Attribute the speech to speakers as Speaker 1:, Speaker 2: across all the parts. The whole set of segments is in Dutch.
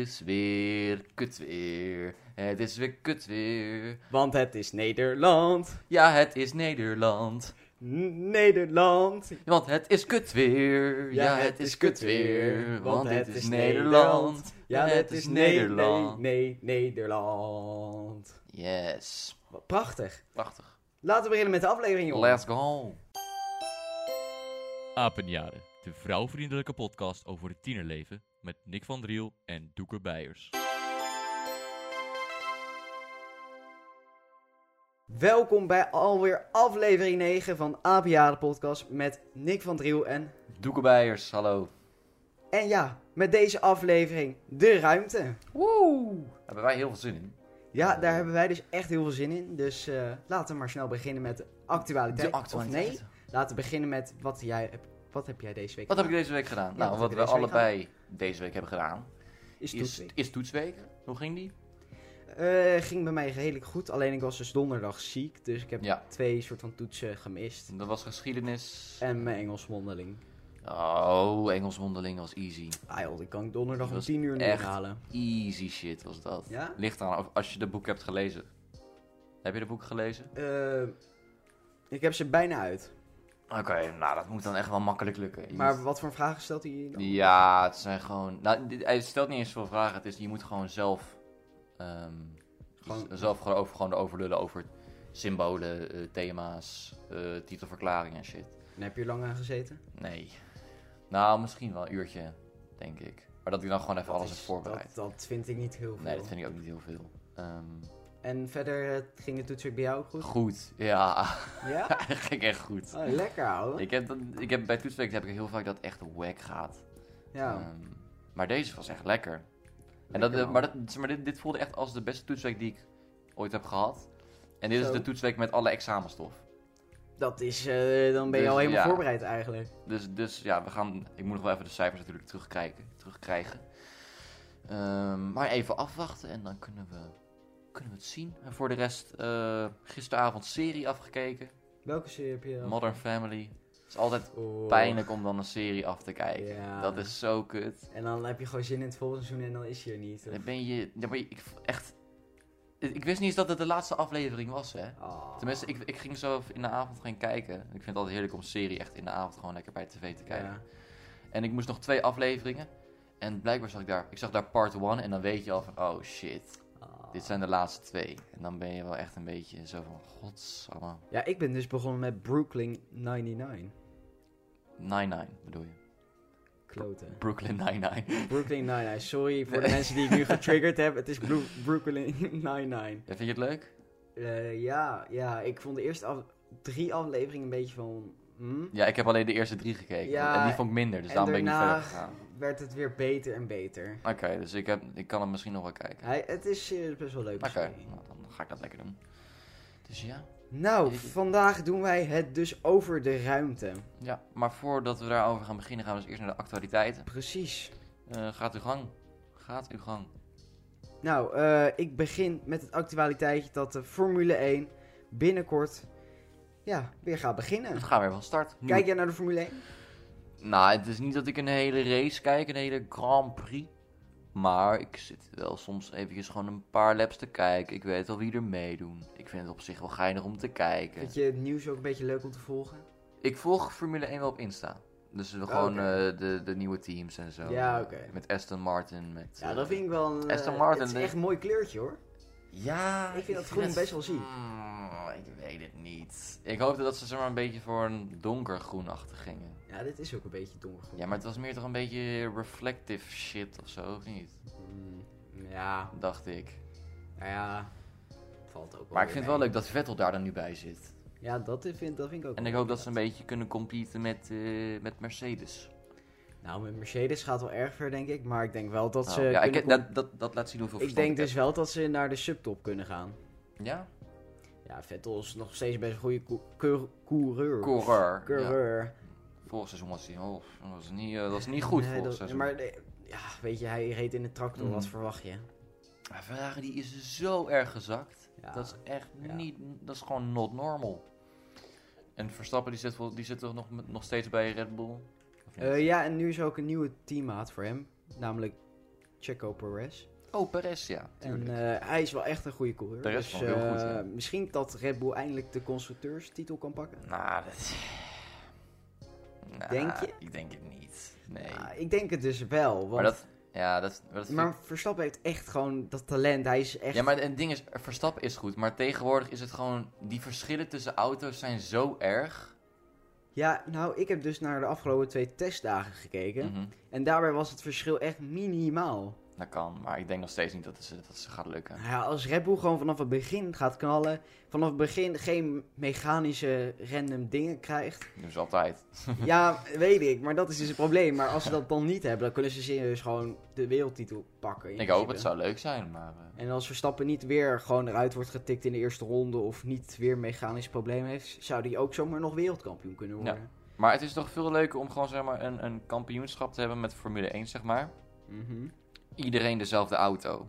Speaker 1: is weer kut weer. Het is weer kut weer.
Speaker 2: Want het is Nederland.
Speaker 1: Ja, het is Nederland.
Speaker 2: N- Nederland.
Speaker 1: Want het is kut weer. Ja, het is kut weer. Want het is Nederland.
Speaker 2: Ja, het is Nederland.
Speaker 1: Nederland.
Speaker 2: Nee, nee, Nederland.
Speaker 1: Yes.
Speaker 2: Wat prachtig.
Speaker 1: Prachtig.
Speaker 2: Laten we beginnen met de aflevering, jongen.
Speaker 1: Let's go.
Speaker 3: Apenjaren, de vrouwvriendelijke podcast over het tienerleven met Nick van Driel en Doeke Bijers.
Speaker 2: Welkom bij alweer aflevering 9 van Apiade Podcast met Nick van Driel en...
Speaker 1: Doeke Bijers, hallo.
Speaker 2: En ja, met deze aflevering De Ruimte.
Speaker 1: Woe. Daar hebben wij heel veel zin in.
Speaker 2: Ja, daar hebben wij dus echt heel veel zin in. Dus eh, laten we maar snel beginnen met de actualiteit.
Speaker 1: De actualiteit.
Speaker 2: Of nee, laten we beginnen met wat, jij, hebt- wat heb jij deze week
Speaker 1: Wat heb ik
Speaker 2: gedaan?
Speaker 1: deze week gedaan?
Speaker 2: Ja,
Speaker 1: nou,
Speaker 2: wat
Speaker 1: wat
Speaker 2: heb
Speaker 1: we
Speaker 2: je deze week
Speaker 1: allebei deze week hebben gedaan
Speaker 2: Is
Speaker 1: is,
Speaker 2: toetsweek.
Speaker 1: is toetsweek. Hoe ging die?
Speaker 2: Eh, ging bij mij redelijk goed, alleen ik was dus donderdag ziek. Dus ik heb
Speaker 1: Ja.
Speaker 2: twee soort van toetsen gemist.
Speaker 1: Dat was geschiedenis.
Speaker 2: En mijn Engels mondeling.
Speaker 1: Oh, Engels mondeling was easy.
Speaker 2: Ah joh, die kan ik donderdag
Speaker 1: Die
Speaker 2: om
Speaker 1: was
Speaker 2: 10 uur
Speaker 1: echt-
Speaker 2: niet halen.
Speaker 1: Easy shit was dat.
Speaker 2: Ja?
Speaker 1: Ligt aan of- als je de boek hebt gelezen. Heb je de boek gelezen?
Speaker 2: Eh, ik heb ze bijna uit.
Speaker 1: Oké, nou dat moet dan echt wel makkelijk lukken. Je
Speaker 2: Maar
Speaker 1: moet-
Speaker 2: wat voor vragen stelt hij dan?
Speaker 1: Ja, het zijn gewoon... Nou, dit- hij stelt niet eens veel vragen. Het is, je moet gewoon zelf... ehm,
Speaker 2: Gewoon-
Speaker 1: z- zelf gewoon over, gewoon erover lullen over symbolen, eh, thema's, eh, titelverklaringen en shit.
Speaker 2: En heb je er lang aan gezeten?
Speaker 1: Nee. Nou, misschien wel een uurtje, denk ik. Maar dat ik dan gewoon even alles
Speaker 2: is-
Speaker 1: heb voorbereid.
Speaker 2: Dat, dat vind ik niet heel veel.
Speaker 1: Nee, dat vind ik ook niet heel veel. Ehm,
Speaker 2: En verder eh, ging de toetsen bij jou ook goed?
Speaker 1: goed, ja.
Speaker 2: Ja?
Speaker 1: Eigenlijk echt goed.
Speaker 2: Oh, lekker ouwe.
Speaker 1: Ik heb, dat, ik heb bij toetsweek heb ik heel vaak dat het echt wack gaat.
Speaker 2: Ja.
Speaker 1: Ehm, maar deze was echt lekker. En
Speaker 2: Lekker,
Speaker 1: dat, eh,
Speaker 2: man.
Speaker 1: maar dat, maar dit, dit voelde echt als de beste toetsweek die ik ooit heb gehad. En dit
Speaker 2: Zo.
Speaker 1: is de toetsweek met alle examenstof.
Speaker 2: Dat is, eh, dan ben je
Speaker 1: Dus,
Speaker 2: al helemaal
Speaker 1: ja.
Speaker 2: voorbereid eigenlijk.
Speaker 1: Dus, dus ja, we gaan, ik moet nog wel even de cijfers natuurlijk terugkijken, terugkrijgen. Ehm, maar even afwachten en dan kunnen we, kunnen we het zien. En voor de rest, eh, gisteravond serie afgekeken.
Speaker 2: Welke serie heb je dan?
Speaker 1: Modern Family. Het is altijd
Speaker 2: Oh.
Speaker 1: pijnlijk om dan een serie af te kijken.
Speaker 2: Ja.
Speaker 1: Dat is zo kut.
Speaker 2: En dan heb je gewoon zin in het volgende seizoen en dan is hij er niet.
Speaker 1: Dan ben je. Dan ben je ik, echt. Ik wist niet eens dat het de laatste aflevering was, hè?
Speaker 2: Ah.
Speaker 1: Tenminste, ik, ik ging zo in de avond gaan kijken. Ik vind het altijd heerlijk om serie echt in de avond gewoon lekker bij tv te kijken.
Speaker 2: Ja.
Speaker 1: En ik moest nog twee afleveringen. En blijkbaar zag ik daar. Ik zag daar part 1 en dan weet je al van. Oh shit,
Speaker 2: Ah.
Speaker 1: dit zijn de laatste twee. En dan ben je wel echt een beetje zo van. Godsamme.
Speaker 2: Ja, ik ben dus begonnen met Brooklyn 99.
Speaker 1: Nine-Nine bedoel je.
Speaker 2: Kloten.
Speaker 1: Brooklyn Nine-Nine.
Speaker 2: Brooklyn 99. Sorry voor de mensen die ik nu getriggerd heb. Het is Bro- Brooklyn 99.
Speaker 1: Ja, vind je het leuk?
Speaker 2: Eh, ja, ja, ik vond de eerste af- drie afleveringen een beetje van... hm?
Speaker 1: Ja, ik heb alleen de eerste drie gekeken.
Speaker 2: Ja,
Speaker 1: en die vond ik minder, dus
Speaker 2: en
Speaker 1: daarom ben ik niet
Speaker 2: daarna-
Speaker 1: verder gegaan.
Speaker 2: Werd het weer beter en beter.
Speaker 1: Oké, dus ik, heb, ik kan hem misschien nog wel kijken.
Speaker 2: Hij, het is serieus best wel leuk.
Speaker 1: Oké,
Speaker 2: serie.
Speaker 1: nou, dan ga ik dat lekker doen. Dus ja.
Speaker 2: Nou, vandaag doen wij het dus over de ruimte.
Speaker 1: ja. Maar voordat we daarover gaan beginnen, gaan we dus eerst naar de actualiteiten.
Speaker 2: Precies.
Speaker 1: Eh, gaat uw gang. Gaat uw gang.
Speaker 2: Nou, eh, ik begin met het actualiteitje dat de Formule 1 binnenkort ja, weer gaat beginnen.
Speaker 1: Het gaat weer van start. Nu-
Speaker 2: Kijk jij naar de Formule 1?
Speaker 1: Nou, het is niet dat ik een hele race kijk, een hele Grand Prix. Maar ik zit wel soms eventjes gewoon een paar laps te kijken. Ik weet wel wie er meedoen. Ik vind het op zich wel geinig om te kijken.
Speaker 2: Vind je het nieuws ook een beetje leuk om te volgen?
Speaker 1: Ik volg Formule 1 wel op Insta. Dus we gewoon
Speaker 2: Ah, oké.
Speaker 1: eh, de, de nieuwe teams en zo.
Speaker 2: Ja, oké.
Speaker 1: Met Aston Martin, met...
Speaker 2: Ja,
Speaker 1: eh,
Speaker 2: dat vind ik wel een... eh,
Speaker 1: Aston Martin,
Speaker 2: Het is
Speaker 1: nee.
Speaker 2: echt een mooi kleurtje hoor.
Speaker 1: Ja,
Speaker 2: Ik vind dat groen best wel ziek.
Speaker 1: Mm, ik weet het niet. Ik hoopte dat ze zeg maar een beetje voor een donkergroenachtig gingen.
Speaker 2: Ja, dit is ook een beetje donkergroen.
Speaker 1: Ja, maar het was meer toch een beetje reflective shit of zo, of niet?
Speaker 2: Mm, ja,
Speaker 1: Dacht ik.
Speaker 2: nou ja, valt ook wel
Speaker 1: Maar ik
Speaker 2: weer
Speaker 1: vind het
Speaker 2: mee.
Speaker 1: wel leuk dat Vettel daar dan nu bij zit.
Speaker 2: Ja, dat vind, dat vind ik ook
Speaker 1: En
Speaker 2: wel
Speaker 1: ik hoop
Speaker 2: leuk,
Speaker 1: dat ze een beetje kunnen competen met, eh, met Mercedes.
Speaker 2: inderdaad. Nou, met Mercedes gaat wel erg ver, denk ik. Maar ik denk wel dat ze...
Speaker 1: Oh, ja, ik,
Speaker 2: kunnen
Speaker 1: dat,
Speaker 2: com-
Speaker 1: dat, dat laat zien hoeveel
Speaker 2: ik
Speaker 1: verstand
Speaker 2: denk dus wel dat ze naar de subtop kunnen gaan.
Speaker 1: heb. Ja?
Speaker 2: Ja, Vettel is nog steeds best een goede cou- keur- coureur.
Speaker 1: Coureur. Ja.
Speaker 2: Coureur.
Speaker 1: Vorig seizoen was hij... Oh, dat was niet, eh, dat was niet goed
Speaker 2: Nee,
Speaker 1: vorig
Speaker 2: dat-
Speaker 1: seizoen.
Speaker 2: Maar nee, ja, weet je, hij reed in de tractor.
Speaker 1: Mm.
Speaker 2: Wat verwacht je?
Speaker 1: Maar Ferrari die is zo erg gezakt.
Speaker 2: Ja.
Speaker 1: Dat is echt
Speaker 2: Ja.
Speaker 1: niet. Dat is gewoon not normal. En Verstappen die zit, vol- die zit toch nog, met- nog steeds bij Red Bull? Of niet?
Speaker 2: Eh, ja, en nu is er ook een nieuwe teammaat voor hem. Namelijk Checo Perez.
Speaker 1: Oh, Perez, ja.
Speaker 2: En
Speaker 1: Tuurlijk.
Speaker 2: eh, hij is wel echt een goede coureur.
Speaker 1: Perez
Speaker 2: dus,
Speaker 1: vond ik heel goed,
Speaker 2: eh,
Speaker 1: ja.
Speaker 2: Misschien dat Red Bull eindelijk de constructeurstitel kan pakken.
Speaker 1: Nou, dat... Nou,
Speaker 2: Denk je?
Speaker 1: Ik denk het niet. Nee.
Speaker 2: Ah, ik denk het dus wel. Want,
Speaker 1: maar dat... Ja, dat, maar dat
Speaker 2: maar Verstappen heeft echt gewoon dat talent. Hij is echt...
Speaker 1: Ja, maar het ding is, Verstappen is goed, maar tegenwoordig is het gewoon, die verschillen tussen auto's zijn zo erg.
Speaker 2: Ja, nou, ik heb dus naar de afgelopen twee testdagen gekeken.
Speaker 1: Mhm.
Speaker 2: En daarbij was het verschil echt minimaal.
Speaker 1: Dat kan, maar ik denk nog steeds niet dat ze, dat ze gaat lukken.
Speaker 2: Nou ja, als Red Bull gewoon vanaf het begin gaat knallen, vanaf het begin geen mechanische random dingen krijgt.
Speaker 1: Dat doen ze altijd.
Speaker 2: ja, weet ik, maar dat is dus het probleem. Maar als ze dat dan niet hebben, dan kunnen ze serieus gewoon de wereldtitel pakken. in
Speaker 1: Ik hoop het
Speaker 2: principe.
Speaker 1: zou leuk zijn, maar... eh,
Speaker 2: En als Verstappen niet weer gewoon eruit wordt getikt in de eerste ronde of niet weer mechanisch probleem heeft, zou die ook zomaar nog wereldkampioen kunnen worden.
Speaker 1: Maar het is toch veel leuker om gewoon zeg maar een, een kampioenschap te hebben met Formule 1, zeg maar.
Speaker 2: Mhm.
Speaker 1: Iedereen dezelfde auto.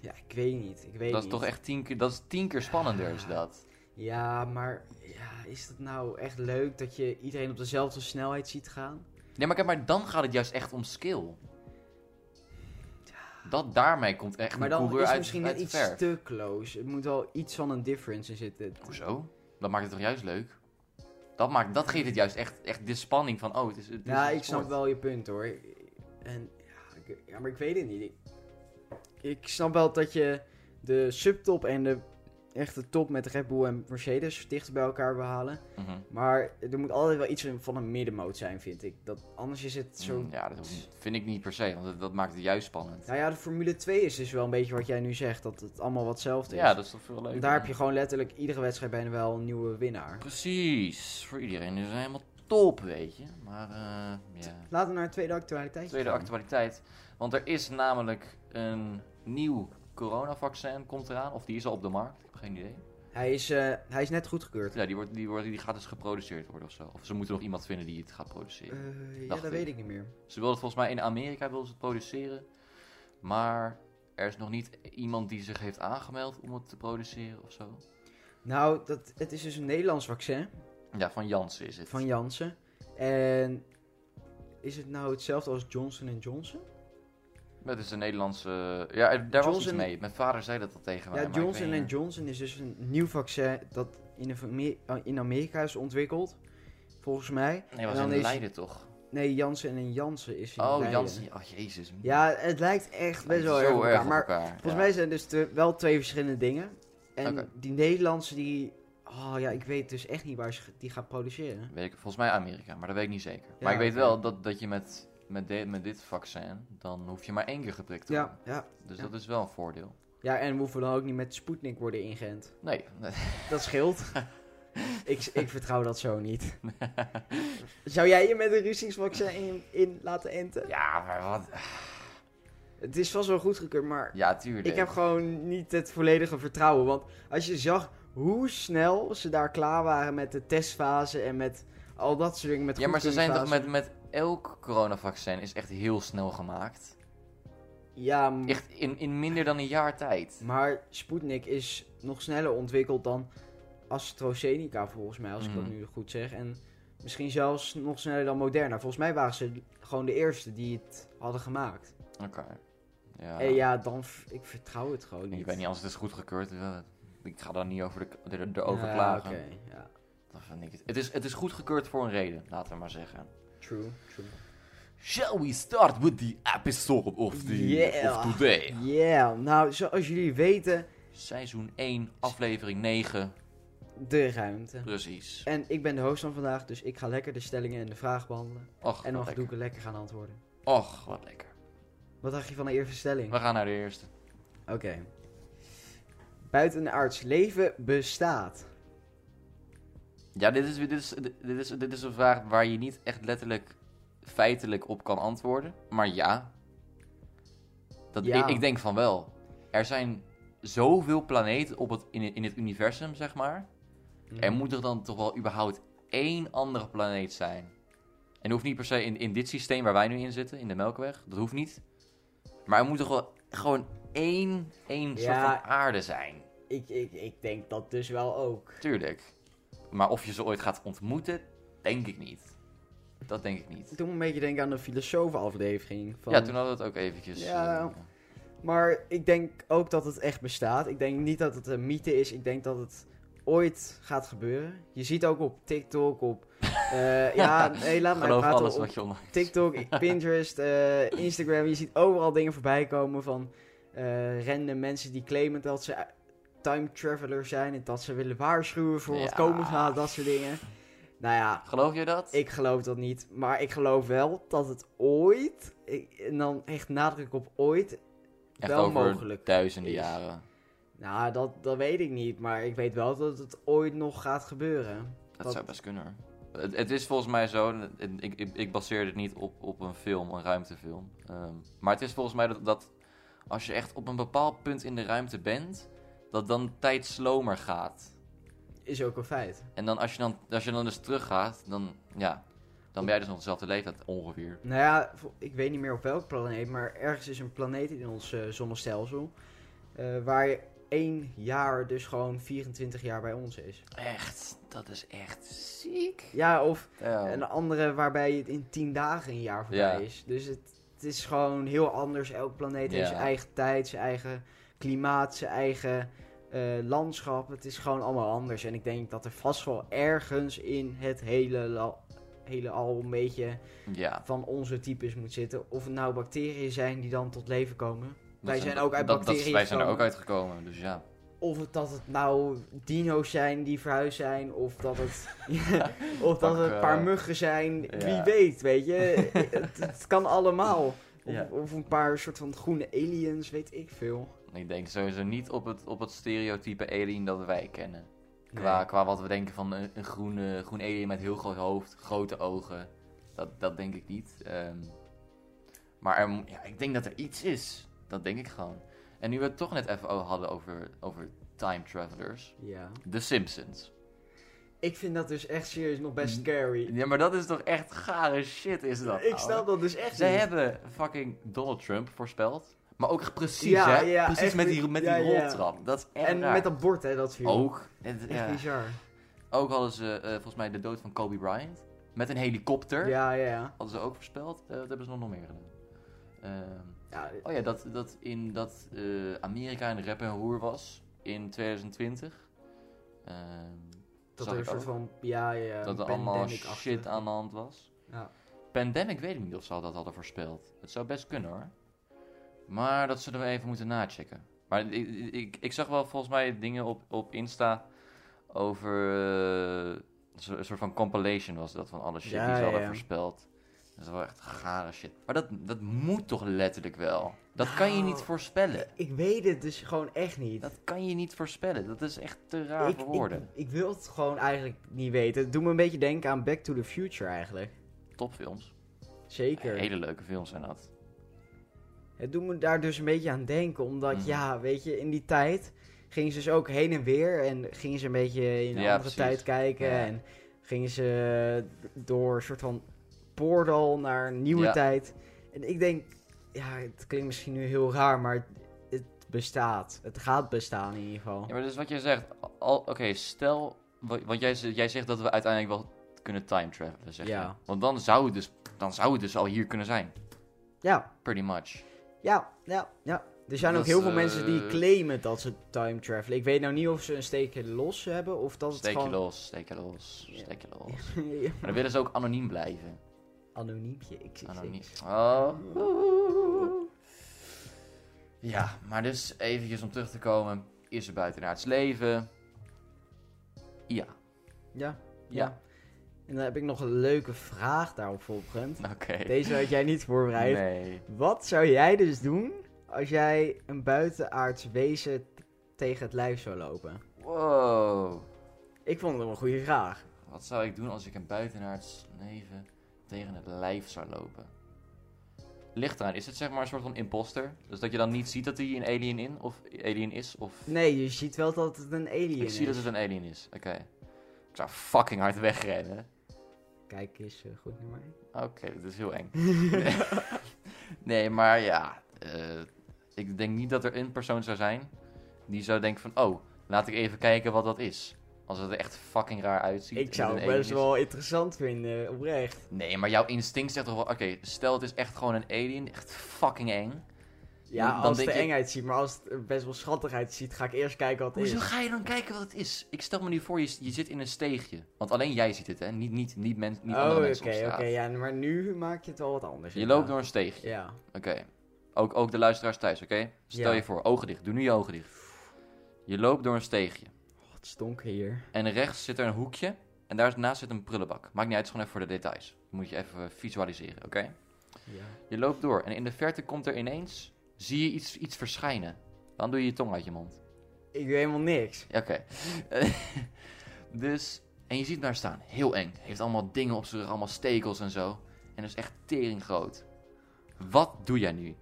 Speaker 2: Ja, ik weet niet. Ik weet
Speaker 1: Dat is
Speaker 2: niet. Ah.
Speaker 1: toch echt tien keer, dat is tien keer spannender is dat.
Speaker 2: Ja, maar ja, is dat nou echt leuk dat je iedereen op dezelfde snelheid ziet gaan?
Speaker 1: Nee, maar kijk, maar dan gaat het juist echt om skill. Dat daarmee komt echt
Speaker 2: maar
Speaker 1: een
Speaker 2: dan
Speaker 1: coureur
Speaker 2: is het
Speaker 1: uit,
Speaker 2: misschien
Speaker 1: uit
Speaker 2: net
Speaker 1: de
Speaker 2: iets
Speaker 1: verf.
Speaker 2: te close. Er moet wel iets van een difference in zitten.
Speaker 1: Hoezo? Dat maakt het toch juist leuk? Dat, maakt, dat geeft het juist echt, echt de spanning van, oh, het is... Het is
Speaker 2: Ja,
Speaker 1: een
Speaker 2: ik snap
Speaker 1: sport.
Speaker 2: wel je punt hoor. En ja, ik, ja, maar ik weet het niet. Ik, ik snap wel dat je de subtop en de echte top met Red Bull en Mercedes dichter bij elkaar wil halen.
Speaker 1: Mhm.
Speaker 2: Maar er moet altijd wel iets van een middenmoot zijn, vind ik. Dat, anders is het zo.
Speaker 1: Mm, Ja, dat hoeft niet- vind ik niet per se, want dat, dat maakt het juist spannend.
Speaker 2: Nou ja, de Formule 2 is dus wel een beetje wat jij nu zegt. Dat het allemaal wat hetzelfde is.
Speaker 1: Ja, dat is toch veel leuker.
Speaker 2: Want daar heb je gewoon letterlijk iedere wedstrijd bijna wel een nieuwe winnaar.
Speaker 1: Precies, voor iedereen is het helemaal top, weet je. Maar, eh, ja.
Speaker 2: Laten we naar de tweede actualiteit
Speaker 1: Tweede
Speaker 2: gaan.
Speaker 1: actualiteit, want er is namelijk een nieuw coronavaccin komt eraan. Of die is al op de markt, ik heb geen idee.
Speaker 2: Hij is, eh, hij is net goedgekeurd.
Speaker 1: Ja, die, wordt, die, wordt, die gaat dus geproduceerd worden of zo. Of ze moeten nog iemand vinden die het gaat produceren.
Speaker 2: Eh, ja,
Speaker 1: Dacht
Speaker 2: dat
Speaker 1: ik.
Speaker 2: weet ik niet meer.
Speaker 1: Ze wilden het volgens mij in Amerika wilden ze het produceren. Maar er is nog niet iemand die zich heeft aangemeld om het te produceren of zo.
Speaker 2: Nou, dat, het is dus een Nederlands vaccin
Speaker 1: Ja, van Janssen is het.
Speaker 2: van Janssen. En is het nou hetzelfde als Johnson Johnson?
Speaker 1: Dat is een Nederlandse... Ja, er- daar was iets
Speaker 2: Johnson-
Speaker 1: mee. Mijn vader zei dat al tegen mij.
Speaker 2: ja,
Speaker 1: maar ik weet
Speaker 2: Johnson
Speaker 1: niet-
Speaker 2: Johnson is dus een nieuw vaccin dat in, de fami- eh, in Amerika is ontwikkeld. Volgens mij.
Speaker 1: Nee, was
Speaker 2: En dan
Speaker 1: in
Speaker 2: is-
Speaker 1: Leiden toch?
Speaker 2: Nee, Janssen en Janssen is in
Speaker 1: Oh,
Speaker 2: Leiden.
Speaker 1: Janssen. Oh, jezus.
Speaker 2: Ja, het lijkt echt best
Speaker 1: Lijkt
Speaker 2: wel
Speaker 1: zo
Speaker 2: erg op elkaar.
Speaker 1: op
Speaker 2: Maar
Speaker 1: elkaar,
Speaker 2: Volgens
Speaker 1: ja.
Speaker 2: mij zijn dus te- wel twee verschillende dingen. En
Speaker 1: Oké.
Speaker 2: die Nederlandse, die. Oh ja, ik weet dus echt niet waar ze die gaan produceren.
Speaker 1: Weet ik, volgens mij Amerika, maar dat weet ik niet zeker.
Speaker 2: Ja,
Speaker 1: maar ik weet
Speaker 2: oké.
Speaker 1: wel dat, dat je met, met, de- met dit vaccin, dan hoef je maar één keer geprikt te
Speaker 2: Ja,
Speaker 1: worden.
Speaker 2: ja.
Speaker 1: Dus
Speaker 2: ja.
Speaker 1: dat is wel een voordeel.
Speaker 2: ja, en we hoeven dan ook niet met Sputnik worden ingeënt.
Speaker 1: Nee,
Speaker 2: Dat scheelt. ik, ik vertrouw dat zo niet. Zou jij je met een Russisch-vaccin in, in laten enten?
Speaker 1: ja, maar wat...
Speaker 2: Het is vast wel goedgekeurd, maar
Speaker 1: Ja, tuurlijk.
Speaker 2: ik heb gewoon niet het volledige vertrouwen. Want als je zag hoe snel ze daar klaar waren met de testfase en met al dat soort dingen. Met
Speaker 1: Ja, maar ze zijn toch
Speaker 2: goedkeuringsfase.
Speaker 1: met, met elk coronavaccin is echt heel snel gemaakt.
Speaker 2: Ja, maar-
Speaker 1: Echt in, in minder dan een jaar tijd.
Speaker 2: Maar Sputnik is nog sneller ontwikkeld dan AstraZeneca, volgens mij, als ik dat
Speaker 1: Mhm.
Speaker 2: nu goed zeg. En misschien zelfs nog sneller dan Moderna. Volgens mij waren ze gewoon de eerste die het hadden gemaakt.
Speaker 1: Oké. Ja.
Speaker 2: En ja, dan... v- Ik vertrouw het gewoon niet.
Speaker 1: Ik weet niet, als het is goedgekeurd, eh, ik ga daar niet over de, er,
Speaker 2: Ja,
Speaker 1: erover klagen.
Speaker 2: Ah, Oké, ja.
Speaker 1: Dat vind ik het. Het, is, het is goedgekeurd voor een reden, laten we maar zeggen.
Speaker 2: True, true.
Speaker 1: Shall we start with the episode of, the,
Speaker 2: Yeah.
Speaker 1: of today?
Speaker 2: Yeah, nou, zoals jullie weten,
Speaker 1: Seizoen 1, aflevering 9.
Speaker 2: de ruimte.
Speaker 1: Precies.
Speaker 2: En ik ben de host van vandaag, dus ik ga lekker de stellingen en de vraag behandelen.
Speaker 1: Och,
Speaker 2: En dan
Speaker 1: wat
Speaker 2: mag
Speaker 1: lekker.
Speaker 2: Doeke lekker gaan antwoorden.
Speaker 1: Och, wat lekker.
Speaker 2: Wat dacht je van de eerste stelling?
Speaker 1: We gaan naar de eerste.
Speaker 2: Oké. Buitenaards leven bestaat.
Speaker 1: Ja, dit is, dit, is, dit, is, dit is een vraag waar je niet echt letterlijk feitelijk op kan antwoorden. Maar ja. Dat,
Speaker 2: Ja.
Speaker 1: Ik, ik denk van wel. Er zijn zoveel planeten op het, in, in het universum, zeg maar.
Speaker 2: Mhm.
Speaker 1: Er moet er dan toch wel überhaupt één andere planeet zijn. En dat hoeft niet per se in, in dit systeem waar wij nu in zitten, in de Melkweg. Dat hoeft niet. Maar er moet toch wel gewoon één, één soort
Speaker 2: Ja.
Speaker 1: van aarde zijn.
Speaker 2: Ik, ik, ik denk dat dus wel ook.
Speaker 1: Tuurlijk. Maar of je ze ooit gaat ontmoeten, denk ik niet. Dat denk ik niet.
Speaker 2: Toen een beetje denken aan de filosoof-aflevering. Van...
Speaker 1: Ja, toen hadden we het ook eventjes.
Speaker 2: Ja.
Speaker 1: eh,
Speaker 2: Maar ik denk ook dat het echt bestaat. Ik denk niet dat het een mythe is. Ik denk dat het ooit gaat gebeuren. Je ziet ook op TikTok, op... eh, ja, nee, laat maar
Speaker 1: geloof
Speaker 2: praten.
Speaker 1: alles
Speaker 2: op
Speaker 1: wat je online
Speaker 2: TikTok, Pinterest, eh, Instagram. Je ziet overal dingen voorbij komen van eh random mensen die claimen dat ze eh, time traveler zijn. En dat ze willen waarschuwen voor wat
Speaker 1: Ja.
Speaker 2: komen gaat, dat soort dingen. Nou ja,
Speaker 1: Geloof je dat?
Speaker 2: ik geloof dat niet. Maar ik geloof wel dat het ooit, ik- en dan echt nadruk op ooit,
Speaker 1: Echt
Speaker 2: wel
Speaker 1: over
Speaker 2: mogelijk
Speaker 1: duizenden
Speaker 2: is.
Speaker 1: jaren.
Speaker 2: Nou, dat, dat weet ik niet. Maar ik weet wel dat het ooit nog gaat gebeuren.
Speaker 1: Dat,
Speaker 2: Dat-
Speaker 1: zou best kunnen. hoor. Het, het is volgens mij zo, en ik, ik, ik baseer dit niet op, op een film, een ruimtefilm. Ehm, maar het is volgens mij dat, dat als je echt op een bepaald punt in de ruimte bent, dat dan tijd slomer gaat.
Speaker 2: Is ook een feit.
Speaker 1: En dan als je dan, als je dan dus teruggaat, dan, ja, dan ben jij dus nog dezelfde leeftijd ongeveer.
Speaker 2: Nou ja, vo- ik weet niet meer op welk planeet, maar ergens is een planeet in ons eh, zonnestelsel. eh, waar je één jaar dus gewoon 24 jaar bij ons is.
Speaker 1: Echt, dat is echt ziek.
Speaker 2: Ja, of
Speaker 1: Ja.
Speaker 2: een andere waarbij het in 10 dagen een jaar voorbij
Speaker 1: Oh. Ja.
Speaker 2: is. Dus het, het is gewoon heel anders. Elk planeet heeft
Speaker 1: Ja.
Speaker 2: zijn eigen tijd, zijn eigen klimaat, zijn eigen eh, landschap. Het is gewoon allemaal anders. En ik denk dat er vast wel ergens in het hele, la- hele al een beetje
Speaker 1: ja.
Speaker 2: van onze types moet zitten. Of het nou bacteriën zijn die dan tot leven komen.
Speaker 1: Dat
Speaker 2: Wij zijn ook uit
Speaker 1: dat- dat-
Speaker 2: bacteriën
Speaker 1: Wij zijn er ook
Speaker 2: gekomen.
Speaker 1: uitgekomen, dus ja.
Speaker 2: Of het dat het nou dino's zijn die verhuisd zijn. Of dat het, of dat
Speaker 1: Pak,
Speaker 2: het een paar
Speaker 1: eh,
Speaker 2: muggen zijn. Wie
Speaker 1: ja.
Speaker 2: weet, weet je. het, het kan allemaal. Of,
Speaker 1: Ja.
Speaker 2: of een paar soort van groene aliens, weet ik veel.
Speaker 1: Ik denk sowieso niet op het, op het stereotype alien dat wij kennen.
Speaker 2: Nee.
Speaker 1: Qua, qua wat we denken van een, een groene, groen alien met heel groot hoofd, grote ogen. Dat, dat denk ik niet. Ehm, maar er mo- ja, ik denk dat er iets is. Dat denk ik gewoon. En nu we het toch net even o- hadden over, over time travelers.
Speaker 2: Ja.
Speaker 1: The Simpsons.
Speaker 2: Ik vind dat dus echt serieus nog best scary.
Speaker 1: Ja, maar dat is toch echt gare shit is Mm. dat.
Speaker 2: ik
Speaker 1: ouwe.
Speaker 2: snap dat dus echt
Speaker 1: Zij
Speaker 2: niet.
Speaker 1: hebben fucking Donald Trump voorspeld. Maar ook echt precies,
Speaker 2: Ja,
Speaker 1: hè?
Speaker 2: ja,
Speaker 1: precies
Speaker 2: echt
Speaker 1: met die,
Speaker 2: met-
Speaker 1: met
Speaker 2: ja,
Speaker 1: die
Speaker 2: ja.
Speaker 1: roltrap. Dat is echt
Speaker 2: En
Speaker 1: raar.
Speaker 2: met dat bord, hè, dat viel.
Speaker 1: Ook. Het-
Speaker 2: Echt
Speaker 1: ja.
Speaker 2: bizar.
Speaker 1: Ook hadden ze eh, volgens mij de dood van Kobe Bryant. Met een helikopter.
Speaker 2: Ja, ja, ja.
Speaker 1: Hadden ze ook voorspeld. Eh, dat hebben ze nog nog meer gedaan. Ehm,
Speaker 2: ja
Speaker 1: oh ja, dat, dat in dat eh, Amerika een rep en roer was. In 2020. Ehm, zag
Speaker 2: dat er een
Speaker 1: ik
Speaker 2: soort
Speaker 1: ook.
Speaker 2: van, ja, ja,
Speaker 1: dat er allemaal shit aan de hand was. Pandemic weet ik niet of ze al dat hadden voorspeld. Het zou best kunnen hoor. Maar dat zullen we even moeten nachecken. Maar ik, ik, ik zag wel volgens mij dingen op, op Insta over eh, zo- een soort van compilation was dat van alle shit
Speaker 2: Ja,
Speaker 1: die ze
Speaker 2: ja,
Speaker 1: hadden
Speaker 2: ja.
Speaker 1: voorspeld. Dat is wel echt gare shit. Maar dat, dat moet toch letterlijk wel? Dat kan je
Speaker 2: Nou,
Speaker 1: niet voorspellen.
Speaker 2: Ik weet het dus gewoon echt niet.
Speaker 1: Dat kan je niet voorspellen. Dat is echt te raar
Speaker 2: ik,
Speaker 1: voor woorden.
Speaker 2: Ik, ik wil het gewoon eigenlijk niet weten. Het doet me een beetje denken aan Back to the Future eigenlijk.
Speaker 1: Topfilms.
Speaker 2: Zeker.
Speaker 1: Hele leuke films zijn dat.
Speaker 2: Het doet me daar dus een beetje aan denken. Omdat,
Speaker 1: Mhm.
Speaker 2: ja, weet je, in die tijd gingen ze dus ook heen en weer. En gingen ze een beetje in een
Speaker 1: Ja, precies.
Speaker 2: andere tijd kijken.
Speaker 1: Ja.
Speaker 2: En gingen ze door een soort van portal naar een nieuwe
Speaker 1: Ja.
Speaker 2: tijd. En ik denk, ja, het klinkt misschien nu heel raar, maar het, het bestaat. Het gaat bestaan in ieder geval.
Speaker 1: Ja, maar dus wat jij zegt. al- Oké, stel. wa- Want jij, z- jij zegt dat we uiteindelijk wel kunnen time travelen, zeg je.
Speaker 2: Ja.
Speaker 1: Want dan zou, het dus, dan zou het dus al hier kunnen zijn.
Speaker 2: Ja,
Speaker 1: Pretty much.
Speaker 2: Ja, ja, ja. Er zijn ook
Speaker 1: Dat,
Speaker 2: heel veel
Speaker 1: eh,
Speaker 2: mensen die claimen dat ze time travelen. Ik weet nou niet of ze een steekje los hebben of dat het
Speaker 1: Steek je
Speaker 2: gewoon
Speaker 1: los, steek je los, steek je los. Maar
Speaker 2: Ja.
Speaker 1: dan willen ze ook anoniem blijven.
Speaker 2: anoniempje. Ik, ik,
Speaker 1: Anoniem.
Speaker 2: ik-
Speaker 1: Oh. Ja, maar dus eventjes om terug te komen. Is er buitenaards leven? Ja.
Speaker 2: Ja,
Speaker 1: Ja.
Speaker 2: ja. En dan heb ik nog een leuke vraag daarop vooropgerend.
Speaker 1: Oké.
Speaker 2: Deze had jij niet voorbereid.
Speaker 1: Nee.
Speaker 2: Wat zou jij dus doen als jij een buitenaards wezen t- tegen het lijf zou lopen?
Speaker 1: Wow.
Speaker 2: Ik vond het wel een goede vraag.
Speaker 1: Wat zou ik doen als ik een buitenaards leven tegen het lijf zou lopen? Ligt eraan, is het zeg maar een soort van imposter? Dus dat je dan niet ziet dat hij een alien, in, of alien is? Of...
Speaker 2: Nee, je ziet wel dat het een alien
Speaker 1: ik
Speaker 2: is.
Speaker 1: zie dat het een alien is. Oké. Ik zou fucking hard wegrennen.
Speaker 2: Kijk eens eh, goed naar mij.
Speaker 1: Oké, dat is heel eng. nee. Nee, maar ja. eh, ik denk niet dat er een persoon zou zijn die zou denken van... Oh, laat ik even kijken wat dat is. Als het er echt fucking raar uitziet. en
Speaker 2: Ik
Speaker 1: het
Speaker 2: zou
Speaker 1: een
Speaker 2: het
Speaker 1: alien
Speaker 2: best
Speaker 1: is.
Speaker 2: wel interessant vinden, oprecht.
Speaker 1: Nee, maar jouw instinct zegt toch wel... Oké, stel het is echt gewoon een alien. Echt fucking eng.
Speaker 2: Ja,
Speaker 1: Dan
Speaker 2: als het
Speaker 1: denk
Speaker 2: er
Speaker 1: je-
Speaker 2: eng uitziet, maar als het er best wel schattig uitziet, ga ik eerst kijken wat het
Speaker 1: Hoezo
Speaker 2: is.
Speaker 1: ga je dan kijken wat het is? Ik stel me nu voor, je, je zit in een steegje. Want alleen jij ziet het, hè? Niet, niet, niet, mens, niet
Speaker 2: oh,
Speaker 1: andere
Speaker 2: oké,
Speaker 1: mensen op
Speaker 2: oké.
Speaker 1: straat.
Speaker 2: ja, maar nu maak je het wel wat anders.
Speaker 1: Je loopt
Speaker 2: inderdaad.
Speaker 1: door een steegje.
Speaker 2: Ja.
Speaker 1: Oké. Ook, ook de luisteraars thuis, oké? Stel
Speaker 2: Ja.
Speaker 1: je voor, ogen dicht. Doe nu je ogen dicht. Je loopt door een steegje.
Speaker 2: Wat Oh, stonk hier.
Speaker 1: En rechts zit er een hoekje. En daarnaast zit een prullenbak. Maakt niet uit, het is gewoon even voor de details. Moet je even visualiseren, oké?
Speaker 2: Ja.
Speaker 1: Je loopt door en in de verte komt er ineens... Zie je iets, iets verschijnen. Dan doe je je tong uit je mond.
Speaker 2: Ik doe helemaal niks.
Speaker 1: Ja, Oké. Eh, dus, en je ziet hem daar staan. Heel eng. Heeft allemaal dingen op zijn rug, allemaal stekels en zo. En is echt tering groot. Wat doe jij nu?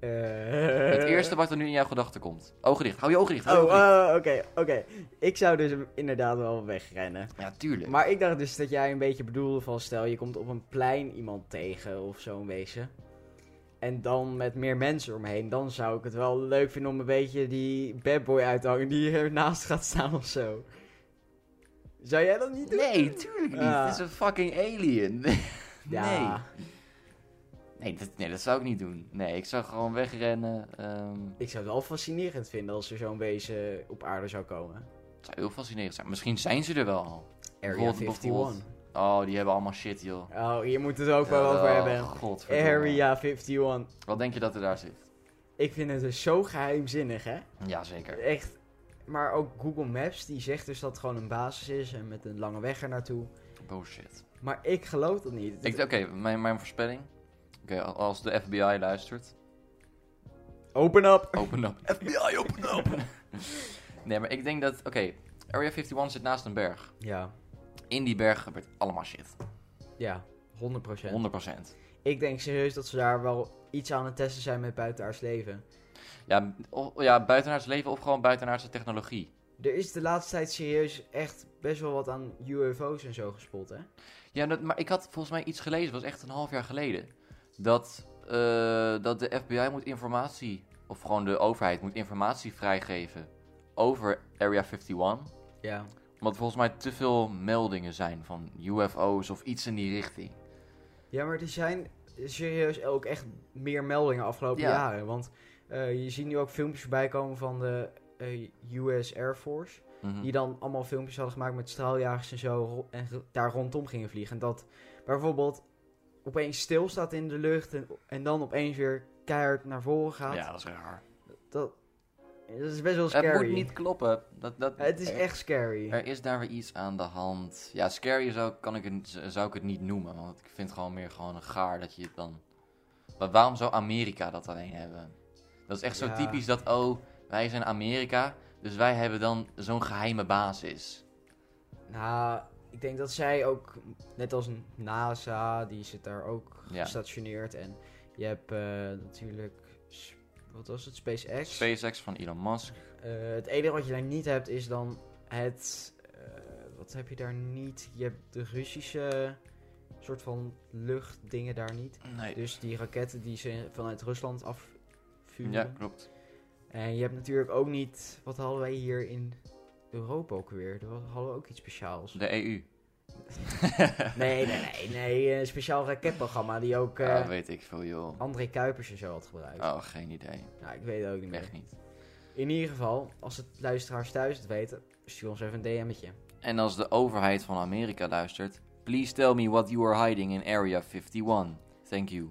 Speaker 1: Het eerste wat er nu in jouw gedachten komt. Ogen dicht, hou je ogen dicht. Hou
Speaker 2: Eh. Oh,
Speaker 1: je ogen dicht.
Speaker 2: oh, oké, oké. Ik zou dus inderdaad wel wegrennen.
Speaker 1: Ja, tuurlijk.
Speaker 2: eh. Maar ik dacht dus dat jij een beetje bedoelde van stel je komt op een plein iemand tegen of zo'n wezen. En dan met meer mensen omheen, dan zou ik het wel leuk vinden om een beetje die bad boy uit te hangen die ernaast gaat staan of zo. Zou jij dat niet doen?
Speaker 1: Nee, tuurlijk niet.
Speaker 2: Ah.
Speaker 1: Het is een fucking alien. nee.
Speaker 2: Ja,
Speaker 1: Nee dat, nee, dat zou ik niet doen. Nee, ik zou gewoon wegrennen. Ehm
Speaker 2: ik zou het wel fascinerend vinden als er zo'n wezen op aarde zou komen.
Speaker 1: het zou heel fascinerend zijn. Misschien zijn ze er wel al.
Speaker 2: Area
Speaker 1: Bijvoorbeeld-
Speaker 2: 51.
Speaker 1: bijvoorbeeld- Oh, die hebben allemaal shit, joh. Oh,
Speaker 2: Oh, hier moet het ook wel over hebben.
Speaker 1: godverdomme.
Speaker 2: Area 51.
Speaker 1: Wat denk je dat er daar zit?
Speaker 2: Ik vind het dus zo geheimzinnig, hè?
Speaker 1: Jazeker.
Speaker 2: Echt. Maar ook Google Maps, die zegt dus dat het gewoon een basis is en met een lange weg er naartoe.
Speaker 1: Bullshit.
Speaker 2: Maar ik geloof dat niet.
Speaker 1: Oh, Ik- Oké, mijn, mijn voorspelling. Oké, als de FBI luistert.
Speaker 2: Open up!
Speaker 1: Open up. FBI, open up! nee, maar ik denk dat... Oké, Area 51 zit naast een berg.
Speaker 2: Ja,
Speaker 1: In die berg gebeurt allemaal shit. 100%.
Speaker 2: ja, 100%. Ik denk serieus dat ze daar wel iets aan het testen zijn met buitenaards leven.
Speaker 1: Ja, of- ja, buitenaards leven of gewoon buitenaardse technologie.
Speaker 2: Er is de laatste tijd serieus echt best wel wat aan UFO's en zo gespot, hè?
Speaker 1: Ja, dat, maar ik had volgens mij iets gelezen, dat was echt een half jaar geleden. Dat, eh, dat de FBI moet informatie, of gewoon de overheid moet informatie vrijgeven over Area 51.
Speaker 2: Ja.
Speaker 1: Omdat volgens mij te veel meldingen zijn van UFO's of iets in die richting.
Speaker 2: Ja, maar er zijn serieus ook echt meer meldingen afgelopen
Speaker 1: Ja.
Speaker 2: jaren. Want eh, je ziet nu ook filmpjes voorbij komen van de eh, US Air Force.
Speaker 1: Mhm.
Speaker 2: Die dan allemaal filmpjes hadden gemaakt met straaljagers en zo. ro- En ge- daar rondom gingen vliegen. En dat bijvoorbeeld opeens stil staat in de lucht. En, en dan opeens weer keihard naar voren gaat.
Speaker 1: Ja, dat is raar.
Speaker 2: Dat, dat is best wel
Speaker 1: Het
Speaker 2: scary.
Speaker 1: moet niet kloppen. Dat, dat,
Speaker 2: Het is
Speaker 1: er-
Speaker 2: echt scary.
Speaker 1: Er is daar weer iets aan de hand. Ja, scary zou, kan ik, het- zou ik het niet noemen. Want ik vind het gewoon meer gewoon een gaar dat je het dan... Maar waarom zou Amerika dat alleen hebben? Dat is echt zo
Speaker 2: Ja.
Speaker 1: typisch dat, oh, wij zijn Amerika. Dus wij hebben dan zo'n geheime basis.
Speaker 2: Nou, ik denk dat zij ook, net als NASA, die zit daar ook
Speaker 1: Ja.
Speaker 2: gestationeerd. En je hebt eh, natuurlijk, s- wat was het, SpaceX.
Speaker 1: SpaceX van Elon Musk.
Speaker 2: Eh, het enige wat je daar niet hebt is dan het. eh, wat heb je daar niet? Je hebt de Russische soort van luchtdingen daar niet.
Speaker 1: Nee.
Speaker 2: Dus die raketten die ze vanuit Rusland afvuren.
Speaker 1: Ja, klopt.
Speaker 2: En je hebt natuurlijk ook niet. Wat hadden wij hier in Europa ook weer? Daar hadden we ook iets speciaals.
Speaker 1: De E EU.
Speaker 2: Nee, nee, nee. nee een speciaal raketprogramma die ook eh,
Speaker 1: Ja, weet ik veel, joh.
Speaker 2: André Kuipers en zo had gebruikt.
Speaker 1: Oh, geen idee.
Speaker 2: Nou, ik weet het ook niet meer.
Speaker 1: Echt niet.
Speaker 2: In ieder geval, als het luisteraars thuis het weten, stuur ons even een DM'tje.
Speaker 1: En als de overheid van Amerika luistert... Please tell me what you are hiding in Area 51. Thank you.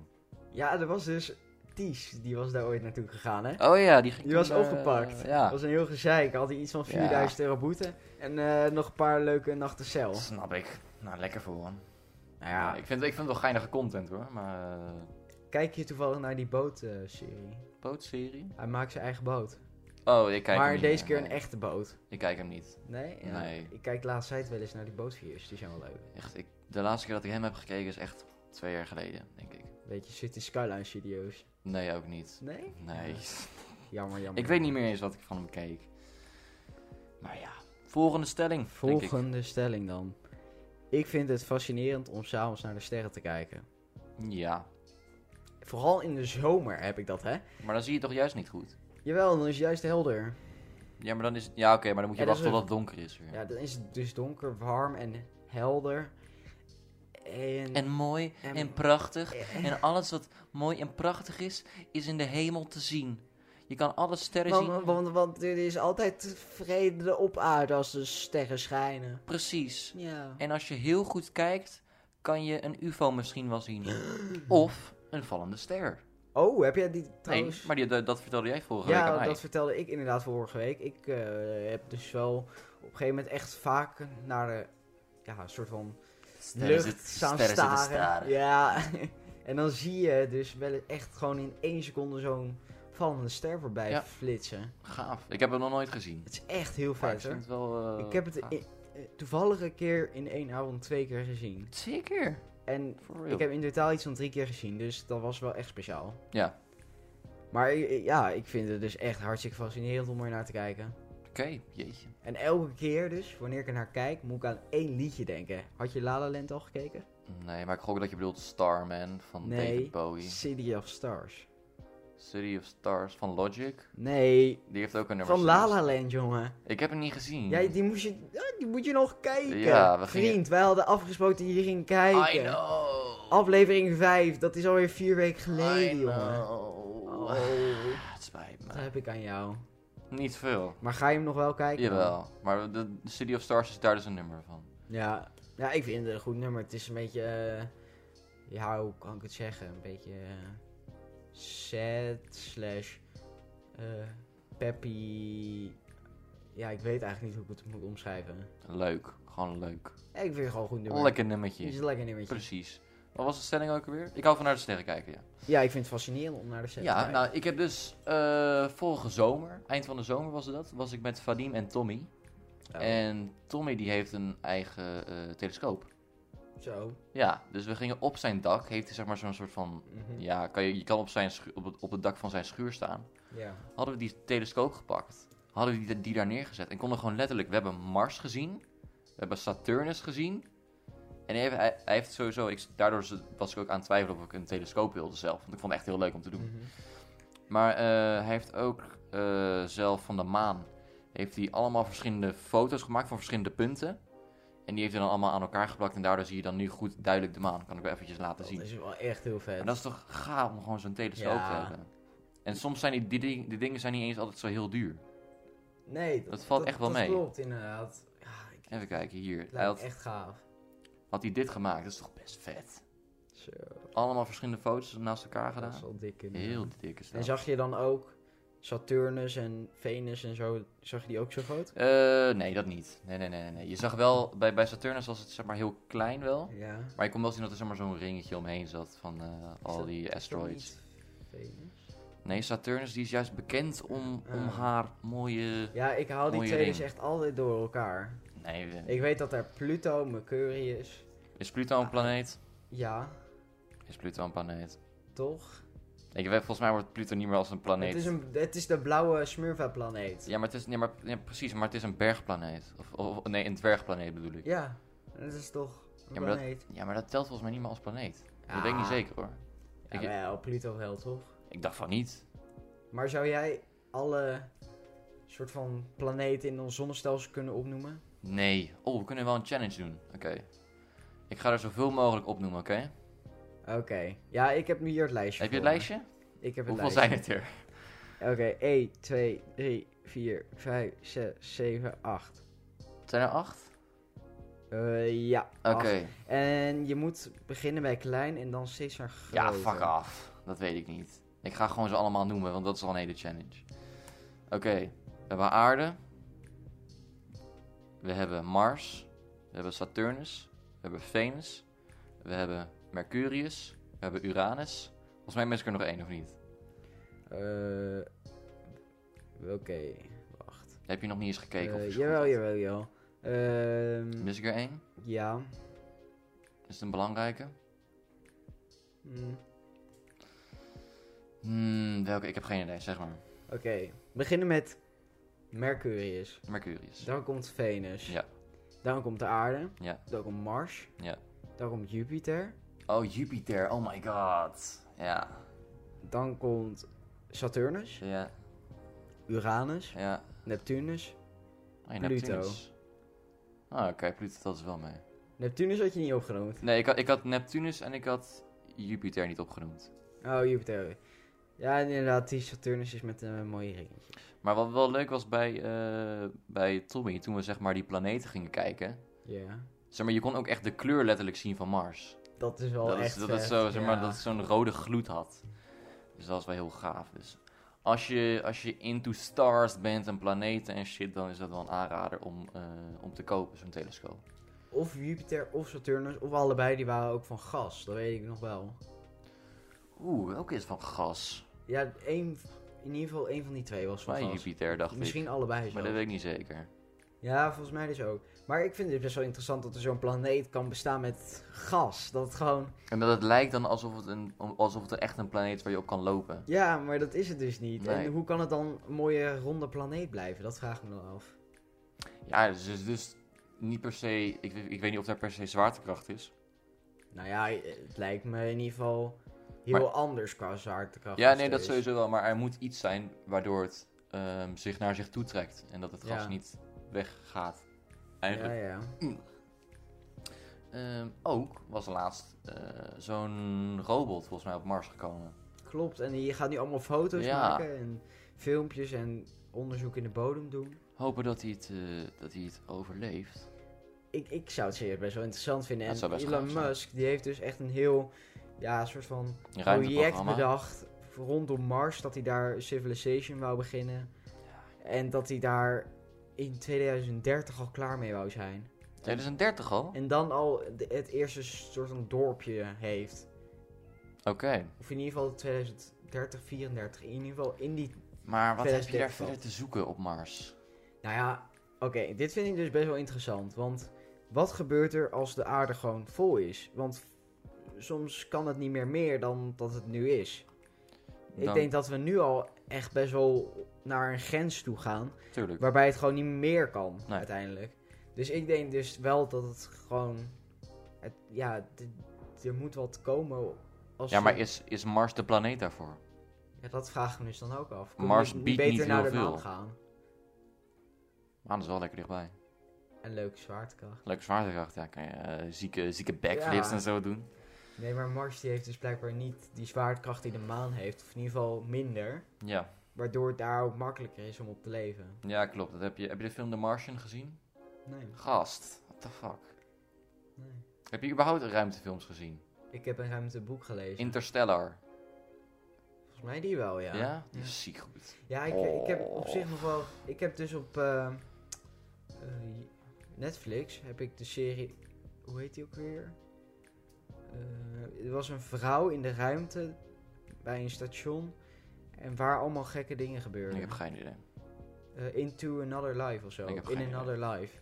Speaker 2: Ja, er was dus Ties, die was daar ooit naartoe gegaan, hè?
Speaker 1: Oh ja, die ging
Speaker 2: Die was
Speaker 1: toen, eh,
Speaker 2: opgepakt.
Speaker 1: ja.
Speaker 2: Dat was een heel gezeik. Had hij iets van 4000 euro boete. En eh, nog een paar leuke nachten cel.
Speaker 1: Snap ik. Nou, lekker voor hem.
Speaker 2: Nou
Speaker 1: Ja,
Speaker 2: ja,
Speaker 1: ik, vind, ik vind het wel geinige content hoor, maar... eh,
Speaker 2: kijk je toevallig naar die bootserie.
Speaker 1: bootserie?
Speaker 2: hij maakt zijn eigen boot.
Speaker 1: Oh, ik kijk hem
Speaker 2: maar
Speaker 1: niet
Speaker 2: deze
Speaker 1: meer,
Speaker 2: keer een
Speaker 1: nee.
Speaker 2: echte boot.
Speaker 1: Ik kijk hem niet.
Speaker 2: Nee? Ja,
Speaker 1: Nee.
Speaker 2: Ik kijk laatst tijd wel eens naar die bootvideo's. Die zijn wel leuk.
Speaker 1: Echt, ik, de laatste keer dat ik hem heb gekeken is echt twee jaar geleden, denk ik.
Speaker 2: Weet je, City Skyline Studios.
Speaker 1: Nee, ook niet.
Speaker 2: Nee?
Speaker 1: Nee.
Speaker 2: Jammer, jammer.
Speaker 1: Ik weet niet meer eens wat ik van hem keek. Maar ja, volgende stelling, denk ik.
Speaker 2: Volgende stelling dan. Ik vind het fascinerend om s'avonds naar de sterren te kijken.
Speaker 1: Ja,
Speaker 2: Vooral in de zomer heb ik dat, hè?
Speaker 1: maar dan zie je het toch juist niet goed?
Speaker 2: Jawel, dan is het juist helder.
Speaker 1: Ja, maar dan is het... Ja, oké, maar dan moet je
Speaker 2: Ja, dat
Speaker 1: wachten
Speaker 2: is
Speaker 1: totdat het donker is weer.
Speaker 2: Ja, dan is het dus donker, warm en helder. En,
Speaker 1: En mooi en,
Speaker 2: En-
Speaker 1: prachtig. En alles wat mooi en prachtig is, is in de hemel te zien. Je kan alle sterren zien.
Speaker 2: want, want, want er is altijd vrede op aarde als de sterren schijnen.
Speaker 1: Precies.
Speaker 2: Ja.
Speaker 1: En als je heel goed kijkt, kan je een UFO misschien wel zien. Of een vallende ster.
Speaker 2: Oh, heb jij die
Speaker 1: Nee,
Speaker 2: trouwens?
Speaker 1: maar die, dat, dat vertelde jij vorige week aan
Speaker 2: ja,
Speaker 1: mij.
Speaker 2: dat vertelde ik inderdaad vorige week. Ik eh, heb dus wel op een gegeven moment echt vaak naar de, ja, een soort van
Speaker 1: Sterren
Speaker 2: lucht
Speaker 1: zit-
Speaker 2: staan
Speaker 1: sterren zitten
Speaker 2: staren.
Speaker 1: staren.
Speaker 2: Ja, en dan zie je dus wel echt gewoon in één seconde zo'n vallende ster voorbij
Speaker 1: Ja.
Speaker 2: flitsen.
Speaker 1: Gaaf. Ik heb hem nog nooit gezien.
Speaker 2: Het is echt heel
Speaker 1: Maar
Speaker 2: vet,
Speaker 1: ik vind
Speaker 2: hoor.
Speaker 1: het wel... eh,
Speaker 2: Ik heb het
Speaker 1: gaaf.
Speaker 2: i- eh, toevallig een keer in één avond twee keer gezien.
Speaker 1: Zeker.
Speaker 2: En
Speaker 1: For real.
Speaker 2: ik heb in totaal iets van drie keer gezien, dus dat was wel echt speciaal.
Speaker 1: Ja.
Speaker 2: Maar eh, ja, ik vind het dus echt hartstikke fascinerend om er naar te kijken.
Speaker 1: Oké, jeetje.
Speaker 2: En elke keer dus, wanneer ik er naar kijk, moet ik aan één liedje denken. Had je La La Land al gekeken?
Speaker 1: Nee, maar ik gok dat je bedoelt Starman van
Speaker 2: Nee.
Speaker 1: David Bowie.
Speaker 2: City of Stars.
Speaker 1: City of Stars van Logic.
Speaker 2: Nee,
Speaker 1: Die heeft ook een nummer.
Speaker 2: van
Speaker 1: City of
Speaker 2: La La
Speaker 1: Stars.
Speaker 2: Land, jongen.
Speaker 1: Ik heb hem niet gezien.
Speaker 2: Ja, die, moest je, ja, die moet je nog kijken.
Speaker 1: Ja, we gingen-
Speaker 2: Vriend, wij hadden afgesproken dat je hier ging
Speaker 1: I
Speaker 2: kijken.
Speaker 1: know.
Speaker 2: Aflevering 5, dat is alweer vier weken
Speaker 1: I
Speaker 2: geleden,
Speaker 1: eh.
Speaker 2: jongen.
Speaker 1: know. Ah,
Speaker 2: Oh,
Speaker 1: Het spijt
Speaker 2: dat
Speaker 1: me.
Speaker 2: heb ik aan jou.
Speaker 1: Niet veel.
Speaker 2: Maar ga je hem nog wel kijken? dan?
Speaker 1: Jawel. Maar de de City of Stars is daar dus een nummer van.
Speaker 2: Ja. ja, ik vind het een goed nummer. Het is een beetje, eh, ja, hoe kan ik het zeggen? Een beetje eh, sad slash eh, peppy. Ja, ik weet eigenlijk niet hoe ik het moet omschrijven.
Speaker 1: Leuk. Gewoon leuk.
Speaker 2: Ja, ik vind het gewoon een goed nummer.
Speaker 1: Lekker
Speaker 2: Het is
Speaker 1: nummertje.
Speaker 2: een lekker nummertje.
Speaker 1: Precies. Wat was de stelling ook alweer? Ik hou van naar de sterren kijken, ja.
Speaker 2: Ja, ik vind het fascinerend om naar de set te
Speaker 1: Ja,
Speaker 2: kijken.
Speaker 1: nou, ik heb dus eh, vorige zomer, eind van de zomer was het dat, was ik met Vadim en Tommy.
Speaker 2: Oh,
Speaker 1: En Tommy die heeft een eigen eh, telescoop.
Speaker 2: Zo.
Speaker 1: Ja, dus we gingen op zijn dak. Heeft hij zeg maar zo'n soort van...
Speaker 2: Mhm.
Speaker 1: Ja, kan je, je kan op, zijn schu- op, het, op het dak van zijn schuur staan.
Speaker 2: Ja.
Speaker 1: Hadden we die telescoop gepakt. Hadden we die, die daar neergezet. En konden gewoon letterlijk... We hebben Mars gezien. We hebben Saturnus gezien. En hij heeft, hij, hij heeft sowieso... Ik, daardoor z- was ik ook aan het twijfelen of ik een telescoop wilde zelf. Want ik vond het echt heel leuk om te doen.
Speaker 2: Mhm.
Speaker 1: Maar eh, hij heeft ook eh, zelf van de maan... Heeft hij allemaal verschillende foto's gemaakt van verschillende punten. En die heeft hij dan allemaal aan elkaar geplakt. En daardoor zie je dan nu goed duidelijk de maan. Kan ik wel eventjes laten
Speaker 2: Dat
Speaker 1: zien.
Speaker 2: is wel echt heel vet.
Speaker 1: En dat is toch gaaf om gewoon zo'n telescoop
Speaker 2: Ja.
Speaker 1: te hebben. En soms zijn die, die, ding- die dingen zijn niet eens altijd zo heel duur.
Speaker 2: Nee,
Speaker 1: dat valt echt wel mee.
Speaker 2: Dat klopt, inderdaad. Ja, ik,
Speaker 1: Even kijken, hier.
Speaker 2: het
Speaker 1: Hij
Speaker 2: lijkt me
Speaker 1: had,
Speaker 2: echt gaaf.
Speaker 1: had hij dit gemaakt, dat is toch best vet.
Speaker 2: Zo,
Speaker 1: Allemaal verschillende foto's naast elkaar
Speaker 2: dat is
Speaker 1: gedaan.
Speaker 2: wel dik. inderdaad.
Speaker 1: Heel dikke
Speaker 2: En
Speaker 1: stel.
Speaker 2: zag je dan ook Saturnus en Venus en zo, zag je die ook zo groot?
Speaker 1: Eh, nee, dat niet. Nee, nee, nee, nee, nee. Je zag wel, bij, bij Saturnus was het zeg maar heel klein wel.
Speaker 2: Ja.
Speaker 1: Maar je kon wel zien dat er zeg maar zo'n ringetje omheen zat van eh, al
Speaker 2: dat-
Speaker 1: die asteroids.
Speaker 2: Asteroids. Venus?
Speaker 1: Nee, Saturnus die is juist bekend om, om
Speaker 2: Ah.
Speaker 1: haar mooie...
Speaker 2: Ja, ik haal die
Speaker 1: Mooie
Speaker 2: twee dus
Speaker 1: ring.
Speaker 2: echt altijd door elkaar.
Speaker 1: Nee, eh,
Speaker 2: Ik weet dat daar Pluto, Mercurius,
Speaker 1: is Pluto een planeet?
Speaker 2: ja,
Speaker 1: Is Pluto een planeet?
Speaker 2: toch?
Speaker 1: Ik weet, volgens mij wordt Pluto niet meer als een planeet.
Speaker 2: Het, is een, het is de blauwe Smurfa-planeet. Ja.
Speaker 1: Ja, maar het is, nee, maar, ja, precies, maar het is een bergplaneet. Of, of- nee, een dwergplaneet bedoel ik.
Speaker 2: dat is toch een
Speaker 1: Ja, maar dat-
Speaker 2: planeet.
Speaker 1: Ja, maar dat telt volgens mij niet meer als planeet. Dat
Speaker 2: Ah.
Speaker 1: weet ik niet zeker hoor.
Speaker 2: Ja,
Speaker 1: Ik-
Speaker 2: wel, Pluto wel, toch?
Speaker 1: Ik dacht van niet.
Speaker 2: Maar zou jij alle soort van planeten in ons zonnestelsel kunnen opnoemen?
Speaker 1: Nee. Oh, we kunnen wel een challenge doen. Oké. Ik ga er zoveel mogelijk opnoemen, oké?
Speaker 2: Oké. Ja, ik heb nu hier het lijstje
Speaker 1: Heb je het
Speaker 2: voor me.
Speaker 1: lijstje?
Speaker 2: Ik heb het
Speaker 1: Hoeveel
Speaker 2: lijstje.
Speaker 1: zijn het er?
Speaker 2: Oké, 1, 2, 3, 4, 5, 6, 7, 8.
Speaker 1: Zijn er acht?
Speaker 2: Eh, ja.
Speaker 1: Oké.
Speaker 2: acht. En je moet beginnen bij klein en dan steeds naar groot.
Speaker 1: Ja, fuck af. Dat weet ik niet. Ik ga gewoon ze allemaal noemen, want dat is al een hele challenge. Oké, we hebben aarde. We hebben Mars. We hebben Saturnus. We hebben Venus. We hebben Mercurius. We hebben Uranus. Volgens mij mis ik er nog één, of niet?
Speaker 2: Eh, Oké, wacht.
Speaker 1: Heb je nog niet eens gekeken? of
Speaker 2: Eh,
Speaker 1: is het
Speaker 2: jawel,
Speaker 1: goed?
Speaker 2: jawel, jawel. Ehm,
Speaker 1: Mis ik er één?
Speaker 2: ja.
Speaker 1: Is het een belangrijke?
Speaker 2: Hm,
Speaker 1: Hmm, welke? Ik heb geen idee, zeg maar.
Speaker 2: Oké, beginnen met Mercurius.
Speaker 1: Mercurius.
Speaker 2: Dan komt Venus.
Speaker 1: Ja.
Speaker 2: Dan komt de aarde.
Speaker 1: Ja.
Speaker 2: Dan komt Mars.
Speaker 1: Ja.
Speaker 2: Dan komt Jupiter.
Speaker 1: Oh, Jupiter. Oh my god. Ja.
Speaker 2: Dan komt Saturnus.
Speaker 1: Ja.
Speaker 2: Uranus.
Speaker 1: Ja.
Speaker 2: Neptunus?
Speaker 1: Oh, ja,
Speaker 2: Pluto.
Speaker 1: Neptunus. Ah, oké, Pluto telt dus wel mee.
Speaker 2: Neptunus had je niet opgenoemd.
Speaker 1: Nee, ik had, ik had Neptunus en ik had Jupiter niet opgenoemd.
Speaker 2: Oh, Jupiter. Ja, inderdaad, die Saturnus is met een mooie ringetje.
Speaker 1: Maar wat wel leuk was bij, eh, bij Tommy, toen we zeg maar die planeten gingen kijken.
Speaker 2: Ja.
Speaker 1: Zeg maar, je kon ook echt de kleur letterlijk zien van Mars.
Speaker 2: Dat is wel
Speaker 1: Dat,
Speaker 2: echt
Speaker 1: is, dat, het
Speaker 2: vet,
Speaker 1: zo, zeg maar,
Speaker 2: ja.
Speaker 1: dat het zo'n rode gloed had. Dus dat was wel heel gaaf. Dus als je, als je into stars bent en planeten en shit, dan is dat wel een aanrader om, eh, om te kopen, zo'n telescoop.
Speaker 2: Of Jupiter of Saturnus, of allebei, die waren ook van gas. Dat weet ik nog wel.
Speaker 1: Oeh, welke is van gas?
Speaker 2: Ja, één, in ieder geval één van die twee was van
Speaker 1: Volgens mij
Speaker 2: gas.
Speaker 1: Jupiter, dacht
Speaker 2: Misschien
Speaker 1: ik.
Speaker 2: allebei
Speaker 1: Maar
Speaker 2: zelfs.
Speaker 1: dat weet ik niet zeker.
Speaker 2: Ja, volgens mij dus ook. Maar ik vind het best wel interessant dat er zo'n planeet kan bestaan met gas. Dat het gewoon...
Speaker 1: En dat het lijkt dan alsof het, een, alsof het echt een planeet is waar je op kan lopen.
Speaker 2: Ja, maar dat is het dus niet.
Speaker 1: Nee.
Speaker 2: En hoe kan het dan een mooie ronde planeet blijven? Dat vraag ik me dan af.
Speaker 1: Ja, dus, dus, dus niet per se. Ik, weet- ik weet niet of daar per se zwaartekracht is.
Speaker 2: Nou ja, het lijkt me in ieder geval heel
Speaker 1: Maar-
Speaker 2: anders qua zwaartekracht.
Speaker 1: ja,
Speaker 2: als
Speaker 1: nee,
Speaker 2: er
Speaker 1: dat
Speaker 2: is.
Speaker 1: sowieso wel. Maar er moet iets zijn waardoor het ehm, zich naar zich toe trekt. En dat het gas
Speaker 2: Ja.
Speaker 1: niet weggaat.
Speaker 2: Ja,
Speaker 1: Eigenlijk.
Speaker 2: ja.
Speaker 1: Ehm, ook was laatst eh, zo'n robot volgens mij op Mars gekomen.
Speaker 2: Klopt. En je gaat nu allemaal foto's
Speaker 1: Ja.
Speaker 2: maken en filmpjes en onderzoek in de bodem doen.
Speaker 1: Hopen dat hij het, eh, dat hij het overleeft.
Speaker 2: Ik, ik zou het serieus best wel interessant vinden.
Speaker 1: Dat
Speaker 2: En
Speaker 1: zou best
Speaker 2: Elon
Speaker 1: gaaf zijn.
Speaker 2: Musk, die heeft dus echt een heel, ja, soort van
Speaker 1: Een
Speaker 2: project
Speaker 1: ruimteprogramma.
Speaker 2: bedacht rondom Mars. Dat hij daar Civilization wou beginnen. En dat hij daar in 2030 al klaar mee wou zijn.
Speaker 1: 2030 al?
Speaker 2: En dan al de- het eerste soort van dorpje heeft.
Speaker 1: Oké.
Speaker 2: Of in ieder geval 2030, 34. In ieder geval in die...
Speaker 1: Maar wat heb je
Speaker 2: 2030
Speaker 1: daar
Speaker 2: al.
Speaker 1: verder te zoeken op Mars?
Speaker 2: Nou ja, oké. dit vind ik dus best wel interessant. Want wat gebeurt er als de aarde gewoon vol is? Want soms kan het niet meer meer dan dat het nu is. Ik
Speaker 1: Dan-
Speaker 2: denk dat we nu al echt best wel naar een grens toe gaan.
Speaker 1: Tuurlijk.
Speaker 2: Waarbij het gewoon niet meer kan,
Speaker 1: Nee.
Speaker 2: uiteindelijk. Dus ik denk dus wel dat het gewoon... Het, ja, d- er moet wat komen als... eh,
Speaker 1: Ja, maar
Speaker 2: we-
Speaker 1: is, is Mars de planeet daarvoor?
Speaker 2: Ja, dat vraag ik me dus dan ook af. Kunnen
Speaker 1: Mars
Speaker 2: we
Speaker 1: biedt
Speaker 2: beter
Speaker 1: niet
Speaker 2: naar
Speaker 1: heel
Speaker 2: de maan
Speaker 1: veel.
Speaker 2: gaan?
Speaker 1: Maan is wel lekker dichtbij.
Speaker 2: En leuke zwaartekracht.
Speaker 1: Leuke zwaartekracht, ja. Kan je eh, zieke, zieke backflips
Speaker 2: Ja.
Speaker 1: en zo doen.
Speaker 2: Nee, maar Mars die heeft dus blijkbaar niet die zwaartekracht die de maan heeft. Of in ieder geval minder.
Speaker 1: Ja,
Speaker 2: Waardoor het daar ook makkelijker is om op te leven.
Speaker 1: ja klopt. Dat heb, je, heb je de film The Martian gezien?
Speaker 2: Nee,
Speaker 1: Gast, what the fuck?
Speaker 2: nee.
Speaker 1: Heb je überhaupt ruimtefilms gezien?
Speaker 2: Ik heb een ruimteboek gelezen.
Speaker 1: Interstellar.
Speaker 2: Volgens mij die wel, ja.
Speaker 1: Ja? Die is ziek goed.
Speaker 2: Ja, ik, ik heb op
Speaker 1: Oh.
Speaker 2: zich nog wel. Ik heb dus op eh, eh, Netflix heb ik de serie. Hoe heet die ook weer? Eh, er was een vrouw in de ruimte bij een station. En waar allemaal gekke dingen
Speaker 1: Ik
Speaker 2: gebeuren.
Speaker 1: heb geen idee.
Speaker 2: Eh, Into Another Life of zo.
Speaker 1: Ik heb
Speaker 2: In
Speaker 1: geen idee.
Speaker 2: Another Life.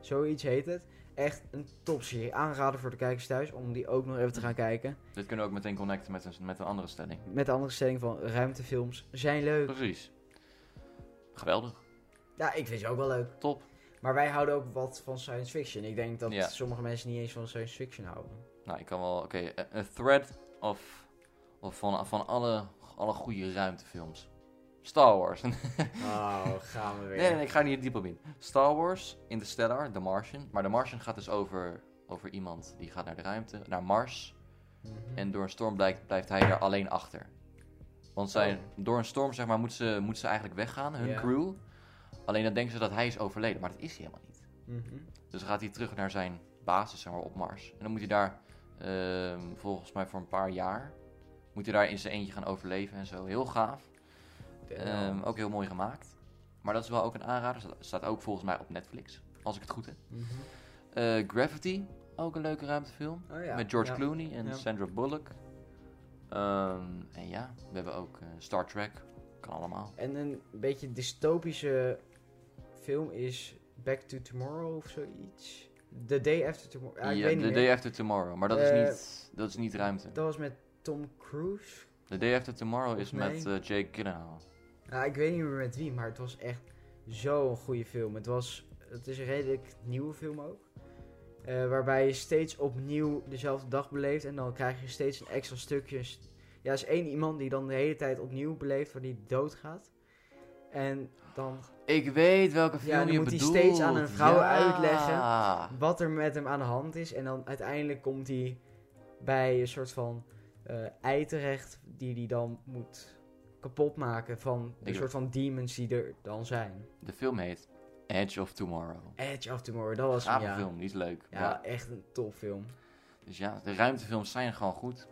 Speaker 2: Zoiets heet het. Echt een topserie. Aanraden voor de kijkers thuis om die ook nog even te gaan kijken.
Speaker 1: Dit kunnen we ook meteen connecten met een, met een andere stelling.
Speaker 2: Met de andere stelling van ruimtefilms zijn leuk.
Speaker 1: Precies. Geweldig.
Speaker 2: Ja, ik vind ze ook wel leuk.
Speaker 1: Top.
Speaker 2: Maar wij houden ook wat van science fiction. Ik denk dat
Speaker 1: Ja.
Speaker 2: sommige mensen niet eens van science fiction houden.
Speaker 1: Nou, ik kan wel... Oké, een- een thread of, of van, van alle, alle goede ruimtefilms. Star Wars.
Speaker 2: Oh, gaan we weer.
Speaker 1: Nee, nee, nee, ik ga er niet diep op in. Star Wars, Interstellar, The Martian. Maar The Martian gaat dus over, over iemand die gaat naar de ruimte, naar Mars.
Speaker 2: Mhm.
Speaker 1: En door een storm blijkt, blijft hij daar alleen achter. Want zijn,
Speaker 2: Oh.
Speaker 1: door een storm zeg maar, moeten ze, moet ze eigenlijk weggaan, hun
Speaker 2: Ja.
Speaker 1: crew. Alleen dan denken ze dat hij is overleden, maar dat is hij helemaal niet.
Speaker 2: Mhm.
Speaker 1: Dus dan gaat hij terug naar zijn basis zeg maar, op Mars. En dan moet hij daar, ehm, volgens mij voor een paar jaar, moet hij daar in zijn eentje gaan overleven en zo. Heel gaaf. Ehm, ook heel mooi gemaakt. Maar dat is wel ook een aanrader. Staat- Staat ook volgens mij op Netflix. Als ik het goed heb.
Speaker 2: Mhm.
Speaker 1: Eh, Gravity. Ook een leuke ruimtefilm.
Speaker 2: Oh ja,
Speaker 1: Met George
Speaker 2: ja.
Speaker 1: Clooney en
Speaker 2: Ja.
Speaker 1: Sandra Bullock. Ehm, en ja, we hebben ook eh, Star Trek. Kan allemaal.
Speaker 2: En een beetje dystopische film is Back to Tomorrow of zoiets. The Day After Tomorrow. Ah, ik
Speaker 1: Ja,
Speaker 2: weet
Speaker 1: eh, The
Speaker 2: niet
Speaker 1: Day
Speaker 2: meer.
Speaker 1: After Tomorrow. Maar dat, is,
Speaker 2: Eh,
Speaker 1: niet, dat is niet ruimte.
Speaker 2: Dat was met Tom Cruise.
Speaker 1: The Day After Tomorrow is
Speaker 2: Volgens
Speaker 1: met
Speaker 2: mij-
Speaker 1: eh, Jake Gyllenhaal.
Speaker 2: Ja, Nou, ik weet niet meer met wie, maar het was echt zo'n goede film. Het, was, het is een redelijk nieuwe film ook. Eh, waarbij je steeds opnieuw dezelfde dag beleeft. En dan krijg je steeds een extra stukje. st- Ja, er is één iemand die dan de hele tijd opnieuw beleeft waar die doodgaat. En dan
Speaker 1: Ik weet welke film
Speaker 2: dan
Speaker 1: je
Speaker 2: moet hij
Speaker 1: bedoelt.
Speaker 2: steeds aan een vrouw
Speaker 1: Ja.
Speaker 2: uitleggen. wat er met hem aan de hand is. En dan uiteindelijk komt hij bij een soort van eh ei terecht. Die hij dan moet kapotmaken van de
Speaker 1: Ik-
Speaker 2: soort van demons die er dan zijn.
Speaker 1: De film heet Edge of Tomorrow.
Speaker 2: Edge of Tomorrow, dat was hem,
Speaker 1: Gave
Speaker 2: ja.
Speaker 1: film, die is leuk.
Speaker 2: Ja,
Speaker 1: Ja.
Speaker 2: echt een topfilm.
Speaker 1: Dus ja, de ruimtefilms zijn gewoon goed.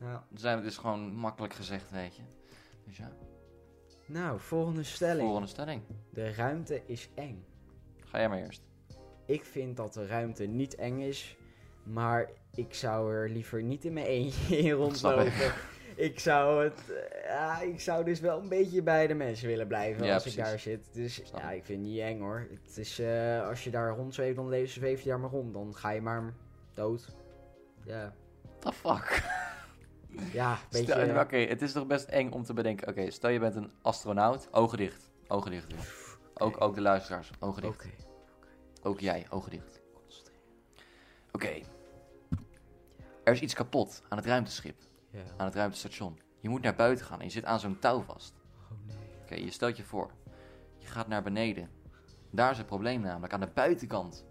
Speaker 2: Ja.
Speaker 1: Ze Zijn, het is gewoon makkelijk gezegd, weet je. Dus ja,
Speaker 2: Nou, volgende stelling.
Speaker 1: volgende stelling.
Speaker 2: De ruimte is eng.
Speaker 1: Ga jij maar eerst.
Speaker 2: Ik vind dat de ruimte niet eng is, maar ik zou er liever niet in mijn eentje in
Speaker 1: Snap
Speaker 2: rondlopen. Ik zou het, eh, ja, ik zou dus wel een beetje bij de mensen willen blijven
Speaker 1: Ja,
Speaker 2: als ik
Speaker 1: precies.
Speaker 2: daar zit. Dus
Speaker 1: Snap
Speaker 2: ja,
Speaker 1: ik.
Speaker 2: ik vind het niet eng hoor. Het is, eh, als je daar rondzweeft, dan leef- zweef je daar maar rond. Dan ga je maar dood. Ja,
Speaker 1: What the fuck?
Speaker 2: ja een beetje. eh,
Speaker 1: Stel- Oké, het is toch best eng om te bedenken. Oké, stel je bent een astronaut. Ogen dicht. Ogen dicht. weer. Ook, ook de luisteraars. Ogen
Speaker 2: Oké.
Speaker 1: dicht. Ook jij. Ogen dicht. Oké. Er is iets kapot aan het ruimteschip.
Speaker 2: Ja.
Speaker 1: Aan het ruimtestation. Je moet naar buiten gaan en je zit aan zo'n touw vast.
Speaker 2: Oh nee.
Speaker 1: Oké, je stelt je voor. Je gaat naar beneden. Daar is het probleem namelijk, aan de buitenkant.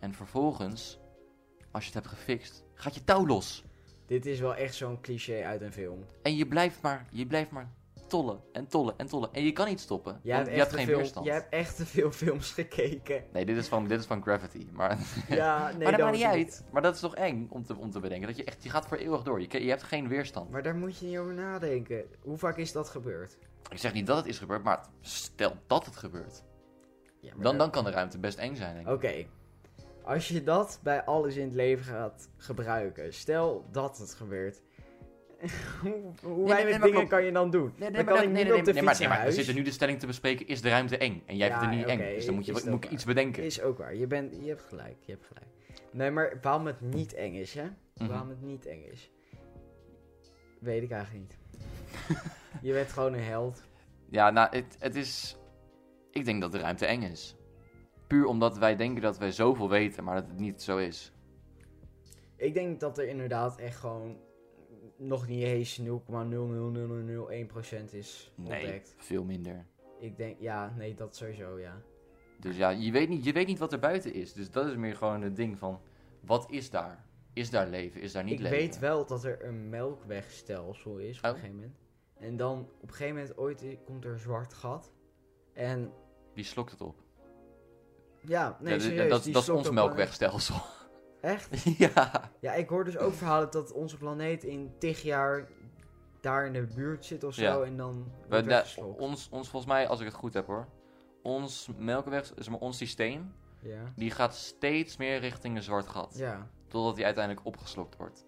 Speaker 1: En vervolgens, als je het hebt gefixt, gaat je touw los.
Speaker 2: Dit is wel echt zo'n cliché uit een film.
Speaker 1: En je blijft maar, je blijft maar tollen en tollen en tollen. En je kan niet stoppen,
Speaker 2: Jij
Speaker 1: want
Speaker 2: hebt,
Speaker 1: je
Speaker 2: echt
Speaker 1: hebt
Speaker 2: te
Speaker 1: geen
Speaker 2: veel,
Speaker 1: weerstand.
Speaker 2: jij hebt echt te veel films gekeken.
Speaker 1: Nee, dit is, van, dit is van Gravity. Maar,
Speaker 2: Ja, nee,
Speaker 1: maar dat
Speaker 2: dan
Speaker 1: maakt niet
Speaker 2: was het
Speaker 1: uit. Maar dat is toch eng om te, om te bedenken. Dat je, echt, je gaat voor eeuwig door. Je, ke- je hebt geen weerstand.
Speaker 2: Maar daar moet je niet over nadenken. Hoe vaak is dat gebeurd?
Speaker 1: Ik zeg niet dat het is gebeurd, maar stel dat het gebeurt. Dan, dan kan de ruimte best eng zijn, denk ik.
Speaker 2: Oké. Als je dat bij alles in het leven gaat gebruiken, stel dat het gebeurt. hoe hoe
Speaker 1: nee,
Speaker 2: weinig
Speaker 1: nee, maar
Speaker 2: dingen
Speaker 1: klopt.
Speaker 2: kan je dan doen?
Speaker 1: Nee, nee, maar
Speaker 2: dan kan
Speaker 1: dat-
Speaker 2: ik
Speaker 1: nee,
Speaker 2: niet
Speaker 1: nee,
Speaker 2: op de
Speaker 1: nee, maar-
Speaker 2: fiets
Speaker 1: nee, maar
Speaker 2: naar
Speaker 1: we
Speaker 2: huis.
Speaker 1: zitten nu de stelling te bespreken, is de ruimte eng? En jij
Speaker 2: Ja,
Speaker 1: vindt het niet
Speaker 2: oké,
Speaker 1: eng, dus dan moet je
Speaker 2: is dat
Speaker 1: moet je
Speaker 2: waar.
Speaker 1: iets bedenken.
Speaker 2: Is ook waar. Je, bent, je hebt gelijk, je hebt gelijk. Nee, maar waarom het niet eng is, hè?
Speaker 1: Mhm.
Speaker 2: Waarom het niet eng is? Weet ik eigenlijk niet. je bent gewoon een held.
Speaker 1: Ja, nou, het, het is... Ik denk dat de ruimte eng is. Puur omdat wij denken dat wij zoveel weten, maar dat het niet zo is.
Speaker 2: Ik denk dat er inderdaad echt gewoon nog niet eens 0,00001% is
Speaker 1: Nee,
Speaker 2: ontdekt.
Speaker 1: veel minder.
Speaker 2: Ik denk, ja, nee, dat sowieso, ja.
Speaker 1: Dus ja, je weet, niet, je weet niet wat er buiten is. Dus dat is meer gewoon het ding van... Wat is daar? Is daar leven? Is daar niet
Speaker 2: ik
Speaker 1: leven?
Speaker 2: weet wel dat er een melkwegstelsel is op
Speaker 1: Oh.
Speaker 2: een gegeven moment. En dan op een gegeven moment ooit i- komt er een zwart gat. En
Speaker 1: Wie slokt het op?
Speaker 2: ja, nee,
Speaker 1: Ja, d-
Speaker 2: serieus.
Speaker 1: dat
Speaker 2: die
Speaker 1: dat is
Speaker 2: stopt
Speaker 1: ons
Speaker 2: op planeet-
Speaker 1: melkwegstelsel.
Speaker 2: Echt?
Speaker 1: ja.
Speaker 2: Ja, ik hoor dus ook verhalen dat onze planeet in tig jaar daar in de buurt zit of zo.
Speaker 1: Ja.
Speaker 2: En dan
Speaker 1: We,
Speaker 2: wordt
Speaker 1: da-
Speaker 2: weggeslokt.
Speaker 1: ons, ons, volgens mij, als ik het goed heb hoor... Ons melkweg, zeg maar, ons systeem...
Speaker 2: Ja.
Speaker 1: Die gaat steeds meer richting een zwart gat.
Speaker 2: ja.
Speaker 1: Totdat die uiteindelijk opgeslokt wordt.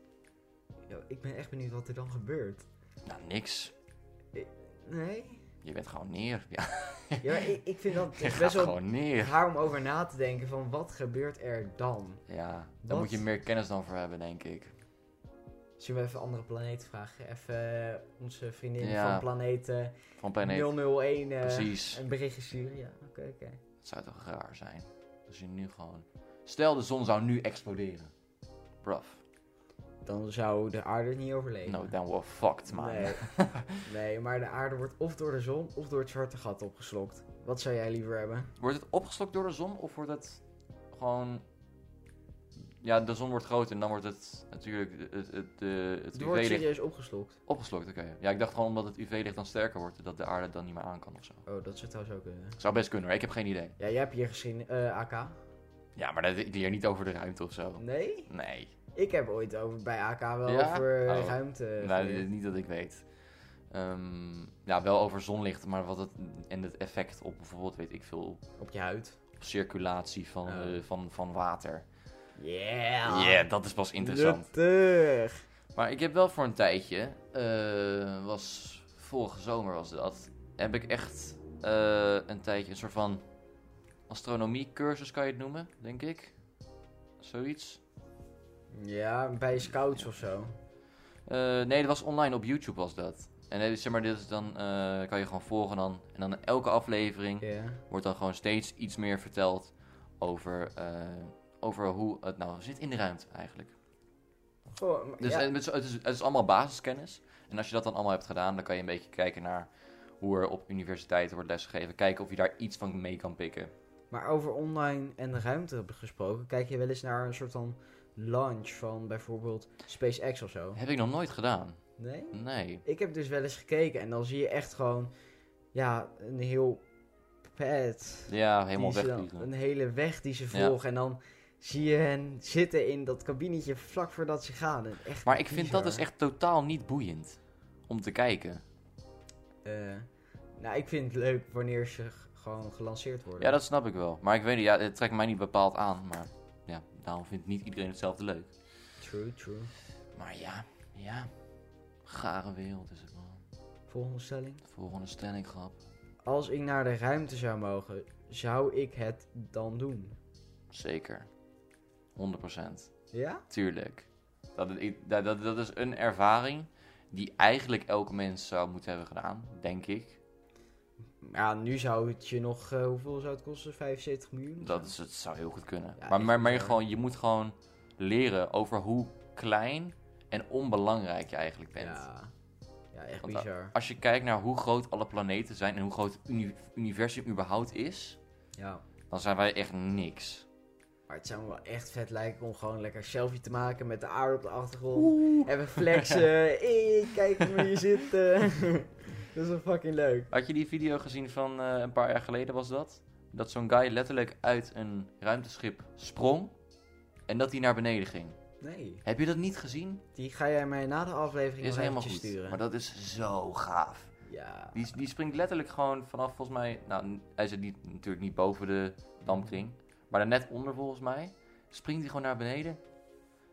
Speaker 2: Ja, Ik ben echt benieuwd wat er dan gebeurt.
Speaker 1: Nou, niks.
Speaker 2: Nee?
Speaker 1: Je bent gewoon neer. Ja,
Speaker 2: Ja, maar ik, ik vind dat
Speaker 1: je
Speaker 2: dus
Speaker 1: gaat
Speaker 2: best wel
Speaker 1: gewoon neer.
Speaker 2: raar om over na te denken van wat gebeurt er dan?
Speaker 1: Ja, daar
Speaker 2: Wat?
Speaker 1: moet je meer kennis dan voor hebben, denk ik.
Speaker 2: Zullen we even een andere planeet vragen? Even eh, onze vriendin
Speaker 1: Ja.
Speaker 2: van planeet, eh,
Speaker 1: Van planeet.
Speaker 2: 001 eh,
Speaker 1: Precies.
Speaker 2: een berichtje sturen? Ja, oké, oké.
Speaker 1: Het zou toch raar zijn. Als je nu gewoon... Stel, de zon zou nu exploderen. Bruv.
Speaker 2: Dan zou de aarde het niet overleven.
Speaker 1: No, then we're fucked, man.
Speaker 2: nee. nee, maar de aarde wordt of door de zon of door het zwarte gat opgeslokt. Wat zou jij liever hebben?
Speaker 1: Wordt het opgeslokt door de zon? Of wordt het gewoon... Ja, de zon wordt groter en dan wordt het natuurlijk het, het, het, eh, het
Speaker 2: Het wordt
Speaker 1: UV-licht
Speaker 2: serieus opgeslokt.
Speaker 1: opgeslokt. Oké. Ja, ik dacht gewoon omdat het UV-licht dan sterker wordt, dat de aarde het dan niet meer aan kan of zo.
Speaker 2: Oh, dat zou trouwens ook kunnen.
Speaker 1: Zou best kunnen hoor, ik heb geen idee.
Speaker 2: Ja, jij hebt hier gezien eh, AK.
Speaker 1: Ja, maar dat is hier niet over de ruimte of zo.
Speaker 2: Nee?
Speaker 1: Nee,
Speaker 2: Ik heb ooit over, bij AK wel
Speaker 1: Ja?
Speaker 2: over eh,
Speaker 1: Oh.
Speaker 2: ruimte
Speaker 1: nou,
Speaker 2: geleerd.
Speaker 1: niet dat ik weet. Ehm, ja, wel over zonlicht, maar wat het en het effect op bijvoorbeeld, weet ik veel,
Speaker 2: Op je huid.
Speaker 1: op circulatie van,
Speaker 2: Oh.
Speaker 1: eh, van, van water. Ja,
Speaker 2: Yeah.
Speaker 1: dat is pas interessant.
Speaker 2: Nuttig.
Speaker 1: Maar ik heb wel voor een tijdje, eh, was vorige zomer was dat, heb ik echt eh, een tijdje een soort van astronomiecursus kan je het noemen, denk ik. Zoiets.
Speaker 2: Ja, bij scouts of zo.
Speaker 1: Eh, nee, dat was online op YouTube was dat. En eh, zeg maar, dit is dan eh, kan je gewoon volgen dan. En dan elke aflevering
Speaker 2: Ja.
Speaker 1: wordt dan gewoon steeds iets meer verteld over, eh, over hoe het nou zit in de ruimte eigenlijk.
Speaker 2: Goh, maar
Speaker 1: Dus
Speaker 2: ja,
Speaker 1: eh, het, is, het, is, het is allemaal basiskennis. En als je dat dan allemaal hebt gedaan, dan kan je een beetje kijken naar hoe er op universiteiten wordt lesgegeven. Kijken of je daar iets van mee kan pikken.
Speaker 2: Maar over online en ruimte gesproken, kijk je wel eens naar een soort van launch van bijvoorbeeld SpaceX of zo?
Speaker 1: Heb ik nog nooit gedaan.
Speaker 2: Nee?
Speaker 1: Nee.
Speaker 2: Ik heb dus wel eens gekeken en dan zie je echt gewoon, ja, een heel pad.
Speaker 1: Ja, helemaal
Speaker 2: die ze dan-
Speaker 1: wegvliegen.
Speaker 2: Een hele weg die ze
Speaker 1: Ja.
Speaker 2: volgen en dan zie je hen zitten in dat kabinetje vlak voordat ze gaan. En Echt
Speaker 1: Maar ik vind dat
Speaker 2: bizar.
Speaker 1: dus echt totaal niet boeiend om te kijken.
Speaker 2: Eh, nou, ik vind het leuk wanneer ze g- gewoon gelanceerd worden.
Speaker 1: Ja, dat snap ik wel. Maar ik weet niet, ja, het trekt mij niet bepaald aan. Maar ja, daarom vindt niet iedereen hetzelfde leuk.
Speaker 2: True, true.
Speaker 1: Maar ja, ja. Gare wereld is het man.
Speaker 2: Volgende stelling.
Speaker 1: Volgende stelling grap.
Speaker 2: Als ik naar de ruimte zou mogen, zou ik het dan doen?
Speaker 1: Zeker. 100%.
Speaker 2: Ja?
Speaker 1: Tuurlijk. Dat, ik- dat, dat, dat is een ervaring die eigenlijk elke mens zou moeten hebben gedaan, denk ik.
Speaker 2: Ja, nu zou het je nog... eh, hoeveel zou het kosten? 75 miljoen?
Speaker 1: Dat, is, het zou heel goed kunnen.
Speaker 2: Ja, eh,
Speaker 1: maar
Speaker 2: echt
Speaker 1: maar, maar
Speaker 2: bizar.
Speaker 1: gewoon, je moet gewoon leren over hoe klein en onbelangrijk je eigenlijk bent.
Speaker 2: Ja. Ja, echt
Speaker 1: Want, eh,
Speaker 2: bizar.
Speaker 1: Als je kijkt naar hoe groot alle planeten zijn en hoe groot het uni- universum überhaupt is,
Speaker 2: Ja.
Speaker 1: dan zijn wij echt niks.
Speaker 2: Maar het zou me wel echt vet lijken om gewoon lekker een selfie te maken met de aarde op de achtergrond. En we flexen. Hey, kijk hoe je zit. dat is wel fucking leuk.
Speaker 1: Had je die video gezien van eh, een paar jaar geleden was dat? Dat zo'n guy letterlijk uit een ruimteschip sprong en dat hij naar beneden ging.
Speaker 2: Nee.
Speaker 1: Heb je dat niet gezien?
Speaker 2: Die ga jij mij na de aflevering
Speaker 1: Is
Speaker 2: nog
Speaker 1: helemaal goed.
Speaker 2: eventjes sturen.
Speaker 1: Maar dat is zo gaaf.
Speaker 2: Ja.
Speaker 1: Die, die springt letterlijk gewoon vanaf volgens mij. Nou, n- hij zit niet, natuurlijk niet boven de dampkring. Maar daar net onder volgens mij. Springt hij gewoon naar beneden.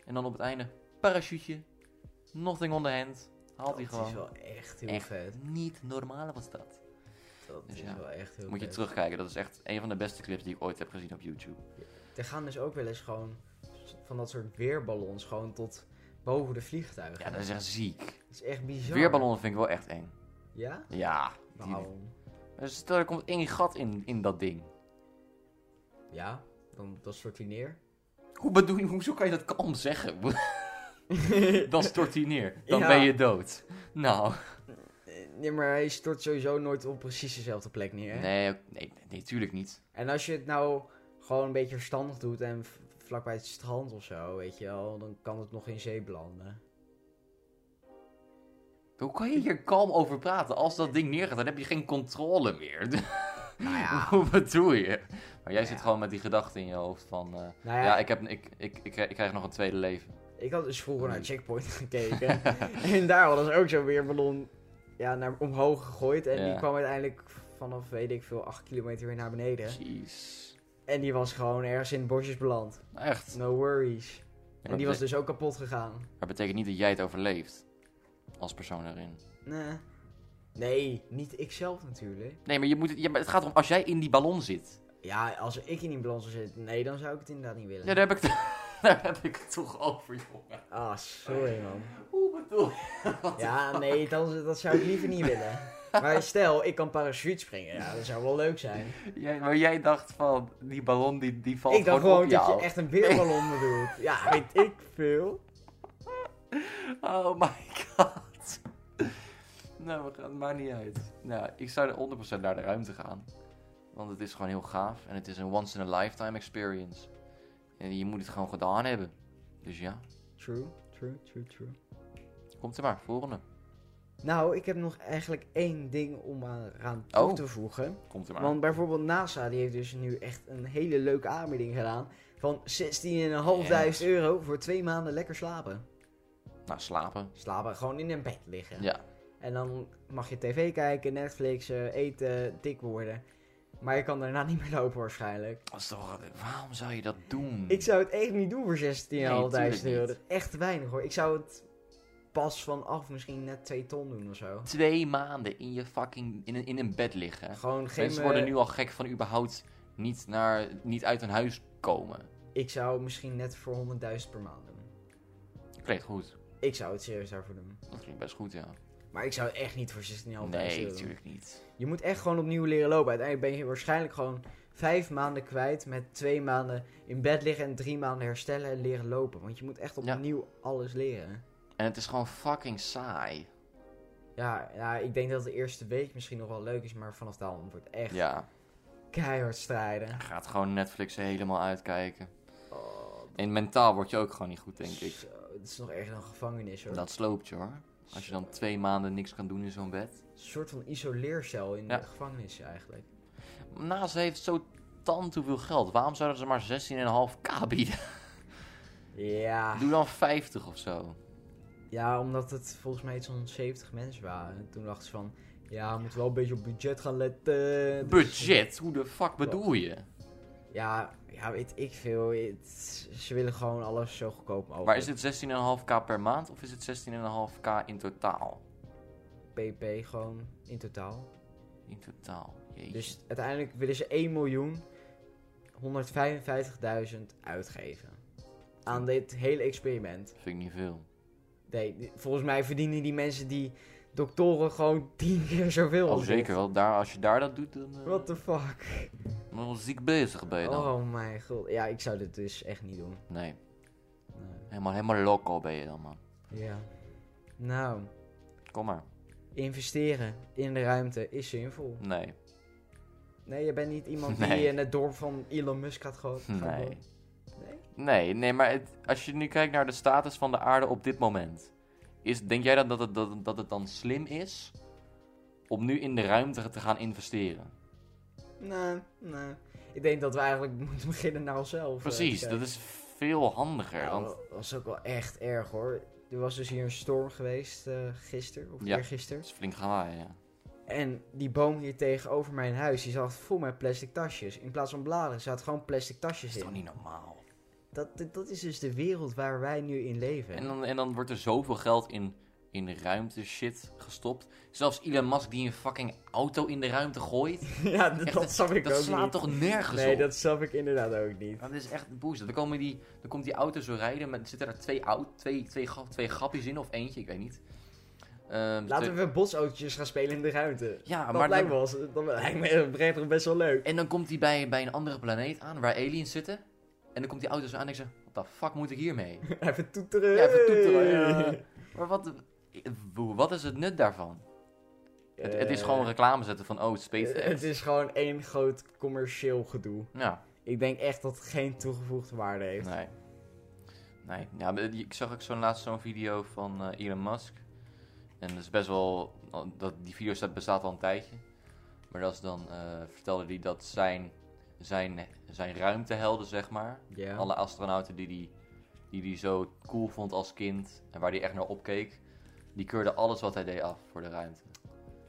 Speaker 1: En dan op het einde parachute. Nothing on the hand. Haalt hij
Speaker 2: Dat is
Speaker 1: gewoon.
Speaker 2: wel echt heel
Speaker 1: Echt
Speaker 2: vet.
Speaker 1: Niet normaal was dat.
Speaker 2: Dat
Speaker 1: Dus
Speaker 2: is
Speaker 1: ja,
Speaker 2: wel echt heel
Speaker 1: Moet je
Speaker 2: vet.
Speaker 1: terugkijken. Dat is echt een van de beste clips die ik ooit heb gezien op YouTube.
Speaker 2: Er gaan dus ook wel eens gewoon van dat soort weerballons gewoon tot boven de vliegtuigen.
Speaker 1: Ja, dat is echt ziek.
Speaker 2: Dat is echt bizar.
Speaker 1: Weerballonnen vind ik wel echt eng.
Speaker 2: Ja?
Speaker 1: Ja. die-
Speaker 2: Nou,
Speaker 1: Dus stel, er komt één gat in, in dat ding.
Speaker 2: ja. Dan, dat stort hij neer.
Speaker 1: Hoe bedoel je, hoezo kan je dat kalm zeggen? Dan stort hij neer. Dan
Speaker 2: Ja.
Speaker 1: ben je dood. Nou.
Speaker 2: Nee, maar hij stort sowieso nooit op precies dezelfde plek neer. hè?
Speaker 1: Nee, ook- nee, nee, tuurlijk niet.
Speaker 2: En als je het nou gewoon een beetje verstandig doet en v- vlakbij het strand of zo, weet je wel, dan kan het nog in zee belanden.
Speaker 1: Hoe kan je hier kalm over praten? Als dat ding neergaat, dan heb je geen controle meer.
Speaker 2: Nou ja.
Speaker 1: Hoe bedoel je? Maar jij
Speaker 2: Ja.
Speaker 1: zit gewoon met die gedachte in je hoofd van... eh,
Speaker 2: Nou
Speaker 1: ja,
Speaker 2: ja,
Speaker 1: ik, heb, ik, ik, ik, ik krijg nog een tweede leven.
Speaker 2: ik had dus vroeger
Speaker 1: Hmm.
Speaker 2: naar Checkpoint gekeken. en daar hadden ze ook zo'n weerballon ja, naar omhoog gegooid. En
Speaker 1: Ja.
Speaker 2: die kwam uiteindelijk vanaf, weet ik veel, 8 kilometer weer naar beneden.
Speaker 1: Jeez.
Speaker 2: En die was gewoon ergens in de bosjes beland.
Speaker 1: Echt.
Speaker 2: No worries. En
Speaker 1: Maar
Speaker 2: die was
Speaker 1: bete-
Speaker 2: dus ook kapot gegaan.
Speaker 1: Maar betekent niet dat jij het overleeft. Als persoon erin.
Speaker 2: Nee. Nee, niet ikzelf natuurlijk.
Speaker 1: Nee, maar, je moet het, ja, maar het gaat erom als jij in die ballon zit.
Speaker 2: Ja, als ik in die balans zou zitten, nee, dan zou ik het inderdaad niet willen.
Speaker 1: Ja, daar heb ik, het- daar heb ik het toch over, jongen.
Speaker 2: Ah, sorry man.
Speaker 1: Hoe bedoel je? Wat
Speaker 2: Ja, nee, dat, dat zou ik liever niet willen. Maar stel, ik kan parachute springen. Ja, dat zou wel leuk zijn.
Speaker 1: Jij, maar jij dacht van, die ballon die, die valt
Speaker 2: ik dacht
Speaker 1: gewoon
Speaker 2: gewoon
Speaker 1: op jou.
Speaker 2: dat je echt een weerballon bedoelt. Ja, weet ik veel.
Speaker 1: Oh my god. Nou, we gaan, het maakt niet uit. Nou, ik zou er 100% naar de ruimte gaan. Want het is gewoon heel gaaf. En het is een once in a lifetime experience. En je moet het gewoon gedaan hebben. Dus ja,
Speaker 2: True, true, true, true.
Speaker 1: komt er maar. Volgende.
Speaker 2: Nou, ik heb nog eigenlijk één ding om aan aan toe
Speaker 1: Oh.
Speaker 2: te voegen.
Speaker 1: Komt er
Speaker 2: Want bijvoorbeeld NASA, die heeft dus nu echt een hele leuke aanbieding gedaan. Van 16.500
Speaker 1: Yes.
Speaker 2: euro voor twee maanden lekker slapen.
Speaker 1: Nou, slapen.
Speaker 2: Slapen, gewoon in een bed liggen.
Speaker 1: Ja.
Speaker 2: En dan mag je tv kijken, Netflixen, eten, dik worden. Maar je kan daarna niet meer lopen waarschijnlijk.
Speaker 1: Dat is toch, waarom zou je dat doen?
Speaker 2: Ik zou het echt niet doen voor 16.500 euro.
Speaker 1: Nee, tuurlijk
Speaker 2: Dat
Speaker 1: niet.
Speaker 2: is echt weinig hoor. Ik zou het pas vanaf misschien net 2 ton doen of zo.
Speaker 1: Twee maanden in je fucking, in een, in een bed liggen.
Speaker 2: Gewoon geen... eh,
Speaker 1: Mensen worden nu al gek van überhaupt niet, naar, niet uit hun huis komen.
Speaker 2: Ik zou misschien net voor 100.000 per maand doen.
Speaker 1: Klinkt goed.
Speaker 2: Ik zou het serieus daarvoor doen.
Speaker 1: Dat klinkt best goed, ja.
Speaker 2: Maar ik zou het echt niet voor 16.500
Speaker 1: Nee,
Speaker 2: euro doen.
Speaker 1: natuurlijk niet.
Speaker 2: Je moet echt gewoon opnieuw leren lopen. Uiteindelijk ben je waarschijnlijk gewoon vijf maanden kwijt met twee maanden in bed liggen en drie maanden herstellen en leren lopen. Want je moet echt
Speaker 1: Ja.
Speaker 2: opnieuw alles leren.
Speaker 1: En het is gewoon fucking saai.
Speaker 2: Ja, nou, ik denk dat de eerste week misschien nog wel leuk is, maar vanaf dan wordt echt
Speaker 1: Ja,
Speaker 2: keihard strijden.
Speaker 1: gaat gewoon Netflix helemaal uitkijken.
Speaker 2: Oh, dat-
Speaker 1: En mentaal word je ook gewoon niet goed, denk ik.
Speaker 2: Zo, het is nog erger dan gevangenis hoor.
Speaker 1: Dat sloopt je hoor. Als je dan
Speaker 2: Zo.
Speaker 1: twee maanden niks kan doen in zo'n bed.
Speaker 2: Een soort van isoleercel in
Speaker 1: Ja.
Speaker 2: de gevangenis eigenlijk.
Speaker 1: NASA heeft zo tant hoeveel geld. Waarom zouden ze maar 16,5k bieden?
Speaker 2: Ja.
Speaker 1: Doe dan 50 of zo.
Speaker 2: ja, omdat het volgens mij iets van 70 mensen waren. En toen dachten ze van, ja, we moeten wel een beetje op budget gaan letten. Dus-
Speaker 1: Budget? Hoe de fuck bedoel je?
Speaker 2: Ja, ja, weet ik veel. Het- ze willen gewoon alles zo goedkoop mogelijk.
Speaker 1: Maar is het 16,5k per maand of is het 16,5k in totaal?
Speaker 2: PP gewoon in totaal?
Speaker 1: In totaal. Jeetje.
Speaker 2: Dus uiteindelijk willen ze 1 miljoen 155.000 uitgeven. Aan dit hele experiment.
Speaker 1: Vind ik niet veel.
Speaker 2: Nee, volgens mij verdienen die mensen die doktoren gewoon 10 keer zoveel.
Speaker 1: Oh,
Speaker 2: als dit.
Speaker 1: zeker wel. Daar, als je daar dat doet, dan eh,
Speaker 2: What the fuck?
Speaker 1: dan wel ziek bezig ben je dan.
Speaker 2: Oh mijn god. Ja, ik zou dit dus echt niet doen.
Speaker 1: Nee,
Speaker 2: Nee.
Speaker 1: helemaal, helemaal loco ben je dan, man.
Speaker 2: Ja. Nou,
Speaker 1: Kom maar.
Speaker 2: investeren in de ruimte is zinvol.
Speaker 1: Nee,
Speaker 2: Nee, je bent niet iemand
Speaker 1: Nee.
Speaker 2: die in het dorp van Elon Musk gaat gewoon. gaat
Speaker 1: nee.
Speaker 2: wonen. Nee?
Speaker 1: Nee, nee, maar het- als je nu kijkt naar de status van de aarde op dit moment. Is, denk jij dan dat het, dat, dat het dan slim is om nu in de ruimte te gaan investeren?
Speaker 2: Nee, nee. Nou, Ik denk dat we eigenlijk moeten beginnen naar onszelf. eh,
Speaker 1: Precies,
Speaker 2: te
Speaker 1: dat
Speaker 2: kijken.
Speaker 1: is veel handiger.
Speaker 2: Nou,
Speaker 1: Want
Speaker 2: dat was ook wel echt erg hoor. Er was dus hier een storm geweest eh gisteren, of
Speaker 1: Ja.
Speaker 2: eergisteren.
Speaker 1: het is flink lawaai, ja.
Speaker 2: En die boom hier tegenover mijn huis, die zat vol met plastic tasjes. In plaats van bladeren zaten gewoon plastic
Speaker 1: Dat
Speaker 2: tasjes
Speaker 1: is toch
Speaker 2: in.
Speaker 1: niet normaal?
Speaker 2: Dat, dat- dat is dus de wereld waar wij nu in leven.
Speaker 1: En dan, en dan wordt er zoveel geld in, in ruimte shit gestopt. Zelfs Elon Musk die een fucking auto in de ruimte gooit.
Speaker 2: ja, dat,
Speaker 1: Echt,
Speaker 2: dat snap ik
Speaker 1: Dat
Speaker 2: ook
Speaker 1: slaat
Speaker 2: niet.
Speaker 1: toch nergens
Speaker 2: nee,
Speaker 1: op?
Speaker 2: dat snap ik inderdaad ook niet.
Speaker 1: Dat is echt boos. Dan, komen die, dan komt die auto zo rijden. Met, zitten er twee, oud, twee, twee, grap- twee grappies in of eentje, ik weet niet. Ehm,
Speaker 2: Laten
Speaker 1: twee-
Speaker 2: we botsautootjes gaan spelen in de ruimte.
Speaker 1: Ja,
Speaker 2: Dat
Speaker 1: Ah, maar
Speaker 2: lijkt
Speaker 1: dan,
Speaker 2: me, als, dat lijkt me prettig best wel leuk.
Speaker 1: en dan komt hij bij, bij een andere planeet aan waar aliens zitten. En dan komt die auto zo aan en ik zeg, wat de fuck moet ik hiermee?
Speaker 2: Even toeteren.
Speaker 1: Ja, even toeteren, ja. maar wat, wat is het nut daarvan? het, het is
Speaker 2: Eh,
Speaker 1: gewoon reclame zetten van, oh, SpaceX.
Speaker 2: Het is gewoon één groot commercieel gedoe.
Speaker 1: Ja,
Speaker 2: Ik denk echt dat het geen toegevoegde waarde heeft.
Speaker 1: nee. Nee, ja, maar die- ik zag ook zo'n laatst zo'n video van eh, Elon Musk. En dat is best wel, dat, die video staat- bestaat al een tijdje. Maar dat is dan, eh, vertelde hij dat zijn, zijn, zijn ruimtehelden, zeg maar...
Speaker 2: Ja.
Speaker 1: Alle astronauten die die, die die zo cool vond als kind en waar hij echt naar opkeek, die keurden alles wat hij deed af voor de ruimte.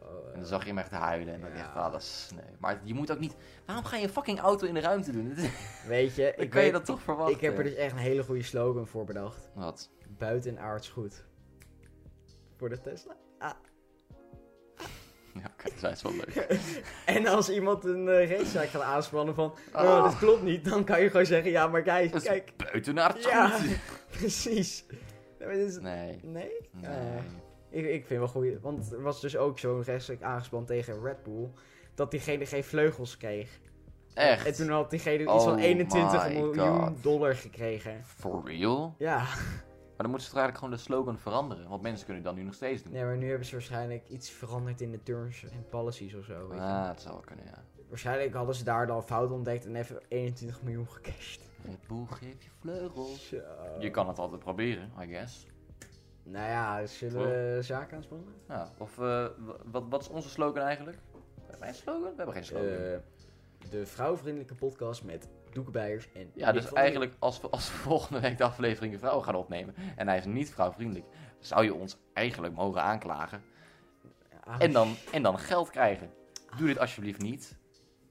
Speaker 2: Oh,
Speaker 1: En dan zag je hem echt huilen en dan
Speaker 2: Ja.
Speaker 1: dacht ik echt, ah, dat is nee. Maar je moet ook niet, waarom ga je een fucking auto in de ruimte doen? Dan
Speaker 2: eh, Weet je, ik,
Speaker 1: kan je
Speaker 2: weet-
Speaker 1: dat toch verwachten?
Speaker 2: ik heb er dus echt een hele goede slogan voor bedacht.
Speaker 1: Wat?
Speaker 2: Buitenaards goed. Voor de Tesla.
Speaker 1: Ja, oké, dat is wel leuk.
Speaker 2: En als iemand een eh, rechtszaak gaat aanspannen van, oh,
Speaker 1: Oh.
Speaker 2: dat klopt niet, dan kan je gewoon zeggen, ja, maar kijk,
Speaker 1: Dat is
Speaker 2: kijk.
Speaker 1: buitenaards
Speaker 2: Ja.
Speaker 1: goed.
Speaker 2: Precies. Nee? maar dit is-
Speaker 1: Nee,
Speaker 2: nee?
Speaker 1: nee.
Speaker 2: Ik, ik vind wel goed, want er was dus ook zo'n rechtszaak aangespannen tegen Red Bull, dat diegene geen vleugels kreeg.
Speaker 1: Echt?
Speaker 2: En toen had diegene iets van
Speaker 1: Oh
Speaker 2: 21
Speaker 1: my
Speaker 2: miljoen
Speaker 1: God.
Speaker 2: dollar gekregen.
Speaker 1: For real?
Speaker 2: Ja.
Speaker 1: Maar dan moeten ze toch eigenlijk gewoon de slogan veranderen, want mensen kunnen dat nu nog steeds doen.
Speaker 2: Nee, maar nu hebben ze waarschijnlijk iets veranderd in de terms en policies of zo. Weet je.
Speaker 1: ah, dat zou wel kunnen, ja.
Speaker 2: Waarschijnlijk hadden ze daar dan fout ontdekt en even 21 miljoen gecashed.
Speaker 1: Red Bull, geef je vleugels.
Speaker 2: Zo.
Speaker 1: Je kan het altijd proberen, I guess.
Speaker 2: Nou ja, zullen
Speaker 1: Oh.
Speaker 2: we zaken aanspannen?
Speaker 1: Ja, of eh, wa- wat, wat is onze slogan eigenlijk? Hebben wij een slogan? We hebben geen slogan.
Speaker 2: Eh, de vrouwvriendelijke podcast met doekbijers en...
Speaker 1: ja,
Speaker 2: Ik
Speaker 1: dus
Speaker 2: vond-
Speaker 1: eigenlijk als we, als we volgende week de aflevering de vrouwen gaan opnemen en hij is niet vrouwvriendelijk, zou je ons eigenlijk mogen aanklagen
Speaker 2: Ah,
Speaker 1: en dan, en dan geld krijgen. Doe dit alsjeblieft niet.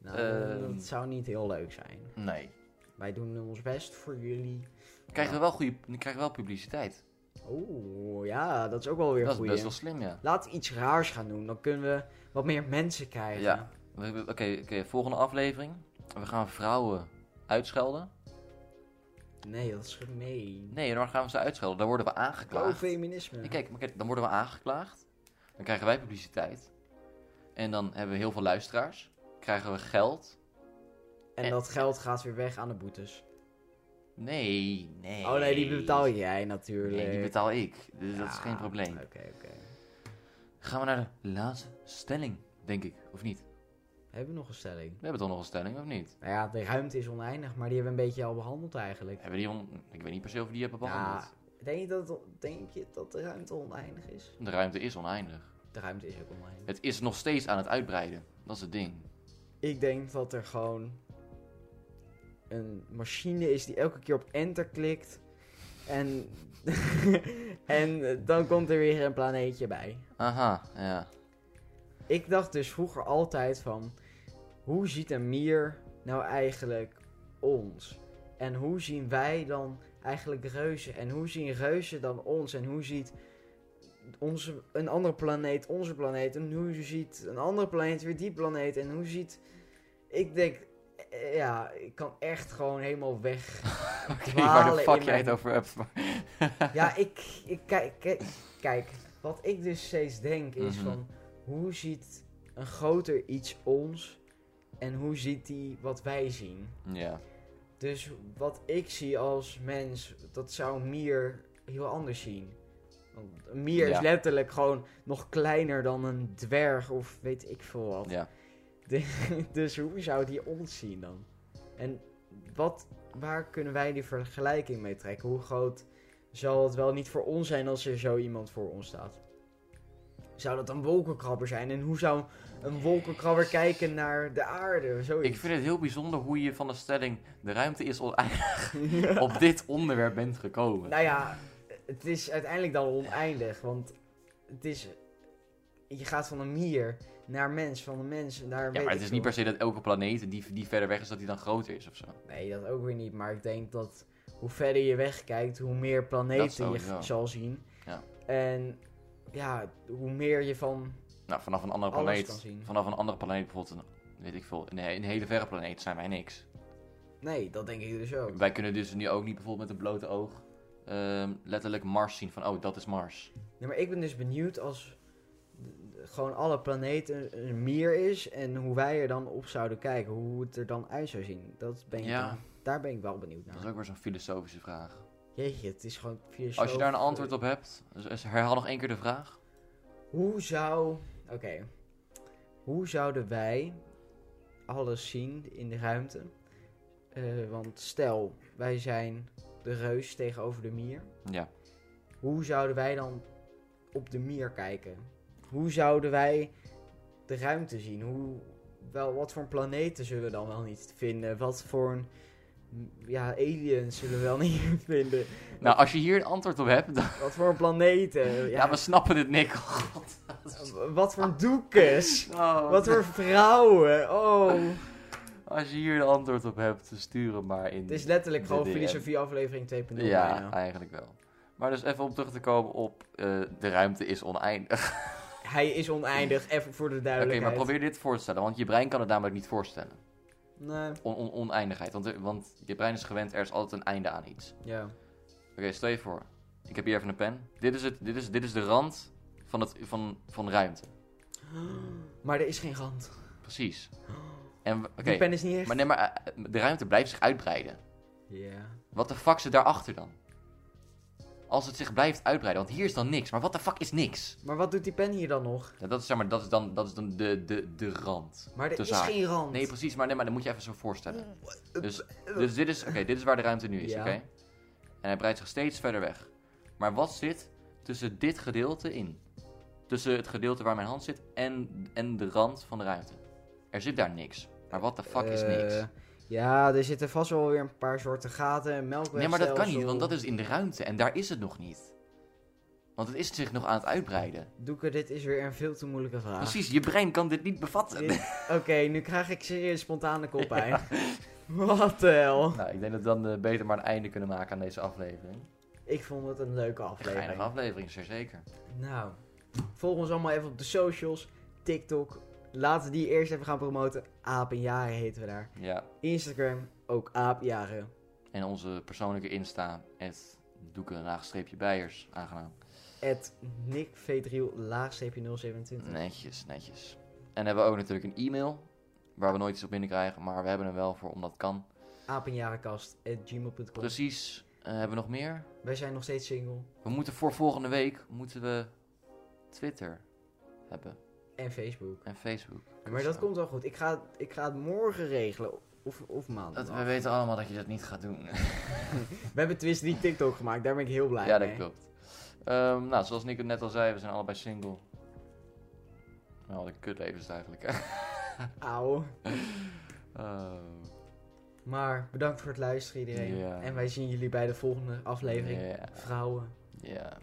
Speaker 2: nou,
Speaker 1: ehm.
Speaker 2: dat zou niet heel leuk zijn.
Speaker 1: Nee.
Speaker 2: Wij doen ons best voor jullie.
Speaker 1: Krijgen we wel, goede, dan krijgen we wel publiciteit.
Speaker 2: Oeh, Oh, ja, dat is ook wel weer
Speaker 1: Dat is
Speaker 2: goed.
Speaker 1: best wel slim, ja.
Speaker 2: Laten we iets raars gaan doen, dan kunnen we wat meer mensen krijgen.
Speaker 1: Ja. We hebben- Oké, oké, volgende aflevering. We gaan vrouwen uitschelden.
Speaker 2: Nee, dat is gemeen.
Speaker 1: Nee, dan gaan we ze uitschelden. Dan worden we
Speaker 2: Oh,
Speaker 1: aangeklaagd.
Speaker 2: feminisme.
Speaker 1: Ja, Kijk, maar kijk, dan worden we aangeklaagd. Dan krijgen wij publiciteit. En dan hebben we heel veel luisteraars. Krijgen we geld.
Speaker 2: En,
Speaker 1: En-
Speaker 2: dat geld gaat weer weg aan de boetes.
Speaker 1: Nee, nee.
Speaker 2: Oh nee, die betaal jij natuurlijk.
Speaker 1: Nee, die betaal ik. Dus dat is
Speaker 2: Ja,
Speaker 1: geen probleem.
Speaker 2: Oké, oké.
Speaker 1: Gaan we naar de laatste stelling, denk ik, of niet?
Speaker 2: Hebben we nog een stelling?
Speaker 1: We hebben toch nog een stelling, of niet?
Speaker 2: Nou ja, de ruimte is oneindig, maar die hebben we een beetje al behandeld eigenlijk.
Speaker 1: Hebben we die on- Ik weet niet per se of we die hebben behandeld.
Speaker 2: Ja, denk, je dat, het on- denk je dat de ruimte oneindig is?
Speaker 1: De ruimte is oneindig.
Speaker 2: De ruimte is ook oneindig.
Speaker 1: Het is nog steeds aan het uitbreiden. Dat is het ding.
Speaker 2: Ik denk dat er gewoon een machine is die elke keer op enter klikt. En, en dan komt er weer een planeetje bij.
Speaker 1: Aha, ja.
Speaker 2: Ik dacht dus vroeger altijd van... Hoe ziet een mier nou eigenlijk ons? En hoe zien wij dan eigenlijk reuzen? En hoe zien reuzen dan ons? En hoe ziet onze, een andere planeet onze planeet? En hoe ziet een andere planeet weer die planeet? En hoe ziet... Ik denk... eh, Ja, ik kan echt gewoon helemaal weg.
Speaker 1: Oké, waar de
Speaker 2: Dwalen
Speaker 1: fuck
Speaker 2: in
Speaker 1: jij
Speaker 2: mijn-
Speaker 1: het over hebt. maar-
Speaker 2: Ja, ik, ik kijk, kijk, kijk, wat ik dus steeds denk is
Speaker 1: Mhm.
Speaker 2: van hoe ziet een groter iets ons en hoe ziet die wat wij zien?
Speaker 1: Ja.
Speaker 2: Dus wat ik zie als mens, dat zou een mier heel anders zien. Want een mier
Speaker 1: Ja.
Speaker 2: is letterlijk gewoon nog kleiner dan een dwerg of weet ik veel wat.
Speaker 1: ja.
Speaker 2: Dus hoe zou die ons zien dan? En wat, waar kunnen wij die vergelijking mee trekken? Hoe groot zal het wel niet voor ons zijn als er zo iemand voor ons staat? Zou dat een wolkenkrabber zijn? En hoe zou een wolkenkrabber kijken naar de aarde? Zoiets.
Speaker 1: Ik vind het heel bijzonder hoe je van de stelling de ruimte is oneindig op dit onderwerp bent gekomen.
Speaker 2: Nou ja, het is uiteindelijk dan oneindig. Want het is... Je gaat van een mier naar mens, van een mens naar...
Speaker 1: ja,
Speaker 2: weet
Speaker 1: maar
Speaker 2: ik
Speaker 1: het is niet
Speaker 2: veel.
Speaker 1: per se dat elke planeet die, die verder weg is, dat die dan groter is of zo.
Speaker 2: Nee, dat ook weer niet. Maar ik denk dat hoe verder je wegkijkt, hoe meer
Speaker 1: Dat
Speaker 2: planeten je
Speaker 1: sowieso.
Speaker 2: g- zal zien.
Speaker 1: Ja.
Speaker 2: En ja, hoe meer je van.
Speaker 1: Nou, vanaf een andere
Speaker 2: Alles
Speaker 1: planeet.
Speaker 2: kan zien.
Speaker 1: Vanaf een andere planeet bijvoorbeeld, een, weet ik veel, een, he- een hele verre planeet zijn wij niks.
Speaker 2: Nee, dat denk ik dus ook.
Speaker 1: Wij kunnen dus nu ook niet bijvoorbeeld met een blote oog ehm, letterlijk Mars zien van, oh, dat is Mars.
Speaker 2: Nee, maar ik ben dus benieuwd als d- d- gewoon alle planeten een- een meer is en hoe wij er dan op zouden kijken, hoe het er dan uit zou zien. Dat ben ik
Speaker 1: Ja.
Speaker 2: dan- daar ben ik wel benieuwd
Speaker 1: Dat is
Speaker 2: naar.
Speaker 1: ook weer zo'n filosofische vraag.
Speaker 2: Jeetje, het is gewoon filosoof.
Speaker 1: Als je daar een antwoord op hebt, dus- dus herhaal nog één keer de vraag.
Speaker 2: Hoe zou. Oké. Hoe zouden wij alles zien in de ruimte? Eh, want stel, wij zijn de reus tegenover de mier.
Speaker 1: Ja.
Speaker 2: Hoe zouden wij dan op de mier kijken? Hoe zouden wij de ruimte zien? Hoe, wel, wat voor planeten zullen we dan wel niet vinden? Wat voor een, ja, aliens zullen we wel niet vinden?
Speaker 1: Nou, als je hier een antwoord op hebt, dan...
Speaker 2: Wat voor planeten?
Speaker 1: Ja,
Speaker 2: Ja,
Speaker 1: we snappen het, Nick.
Speaker 2: Wat voor doekes?
Speaker 1: Oh,
Speaker 2: Wat voor vrouwen? Oh.
Speaker 1: Als je hier een antwoord op hebt, dan stuur hem maar in.
Speaker 2: Het is letterlijk gewoon
Speaker 1: De DM.
Speaker 2: filosofie aflevering 2.0
Speaker 1: ja,
Speaker 2: bijna.
Speaker 1: eigenlijk wel. Maar dus even om terug te komen op eh, de ruimte is oneindig.
Speaker 2: Hij is oneindig, even voor de
Speaker 1: Oké, maar
Speaker 2: duidelijkheid.
Speaker 1: probeer dit voor te stellen, want je brein kan het namelijk niet voorstellen.
Speaker 2: Nee,
Speaker 1: On- on- oneindigheid, want, er- want je brein is gewend, er is altijd een einde aan iets.
Speaker 2: ja.
Speaker 1: Oké, stel je voor. Ik heb hier even een pen. Dit is, het, dit is, dit is de rand van, het, van, van ruimte.
Speaker 2: Maar er is geen rand.
Speaker 1: Precies. En, w-
Speaker 2: Die
Speaker 1: oké,
Speaker 2: pen is niet echt.
Speaker 1: maar, nee, maar eh, de ruimte blijft zich uitbreiden.
Speaker 2: Ja.
Speaker 1: Wat de fuck zit daarachter dan? Als het zich blijft uitbreiden, want hier is dan niks. Maar wat de fuck is niks?
Speaker 2: Maar wat doet die pen hier dan nog?
Speaker 1: Ja, dat, is, zeg maar, dat is dan, dat is dan de, de, de rand.
Speaker 2: Maar er
Speaker 1: De
Speaker 2: is
Speaker 1: zaak.
Speaker 2: geen rand.
Speaker 1: Nee, precies, maar, nee, maar dan moet je even zo voorstellen. Dus, dus dit, is, oké, dit is waar de ruimte nu is,
Speaker 2: Ja.
Speaker 1: oké? En hij breidt zich steeds verder weg. Maar wat zit tussen dit gedeelte in? Tussen het gedeelte waar mijn hand zit en, en de rand van de ruimte. Er zit daar niks. Maar wat de fuck is niks?
Speaker 2: Eh, Ja, er zitten vast wel weer een paar soorten gaten en
Speaker 1: Nee, maar
Speaker 2: melkwegstelsel.
Speaker 1: dat kan niet, want dat is in de ruimte en daar is het nog niet. Want het is zich nog aan het uitbreiden.
Speaker 2: Doeke, dit is weer een veel te moeilijke vraag.
Speaker 1: Precies, je brein kan dit niet bevatten.
Speaker 2: Dit- Oké, nu krijg ik serieus spontane koppijn. Wat de hel.
Speaker 1: Nou, ik denk dat we dan eh, beter maar een einde kunnen maken aan deze aflevering.
Speaker 2: Ik vond het een leuke
Speaker 1: Een
Speaker 2: aflevering.
Speaker 1: geinige aflevering, zeer zeker.
Speaker 2: Nou, volg ons allemaal even op de socials. TikTok. Laten we die eerst even gaan promoten. Aap en Jaren heten we daar.
Speaker 1: Ja,
Speaker 2: Instagram, ook Aap Jaren.
Speaker 1: en onze persoonlijke Insta, het doeken laagstreepje bijers, aangenaam.
Speaker 2: At Nick 027
Speaker 1: Netjes, netjes. En hebben we ook natuurlijk een e-mail, waar we nooit iets op binnenkrijgen, maar we hebben hem wel voor, omdat kan.
Speaker 2: Apenjarenkast at gmail.com.
Speaker 1: Precies, eh, hebben we nog meer?
Speaker 2: Wij zijn nog steeds single.
Speaker 1: We moeten voor volgende week, moeten we Twitter hebben.
Speaker 2: En Facebook.
Speaker 1: En Facebook.
Speaker 2: Maar dat
Speaker 1: Zo.
Speaker 2: komt wel goed. Ik ga, ik ga het morgen regelen. Of, of maandag.
Speaker 1: Dat, we weten allemaal dat je dat niet gaat doen.
Speaker 2: We hebben tenminste die TikTok gemaakt. Daar ben ik heel blij
Speaker 1: ja,
Speaker 2: mee.
Speaker 1: dat klopt. Ehm, nou, zoals Nico net al zei, we zijn allebei single. Nou, wat een kutleven is het eigenlijk, hè?
Speaker 2: Auw.
Speaker 1: Ehm,
Speaker 2: Maar bedankt voor het luisteren iedereen.
Speaker 1: Ja.
Speaker 2: En wij zien jullie bij de volgende aflevering.
Speaker 1: Ja.
Speaker 2: Vrouwen.
Speaker 1: ja.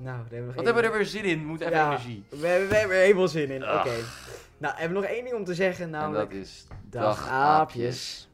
Speaker 2: Nou, daar hebben we nog
Speaker 1: Wat
Speaker 2: één-
Speaker 1: hebben we er weer zin in? Moet even
Speaker 2: Ja.
Speaker 1: energie.
Speaker 2: We hebben, we hebben er helemaal zin in. Oké.
Speaker 1: Ach.
Speaker 2: Nou, hebben we nog één ding om te zeggen.
Speaker 1: En dat
Speaker 2: Namelijk,
Speaker 1: is
Speaker 2: dag aapjes.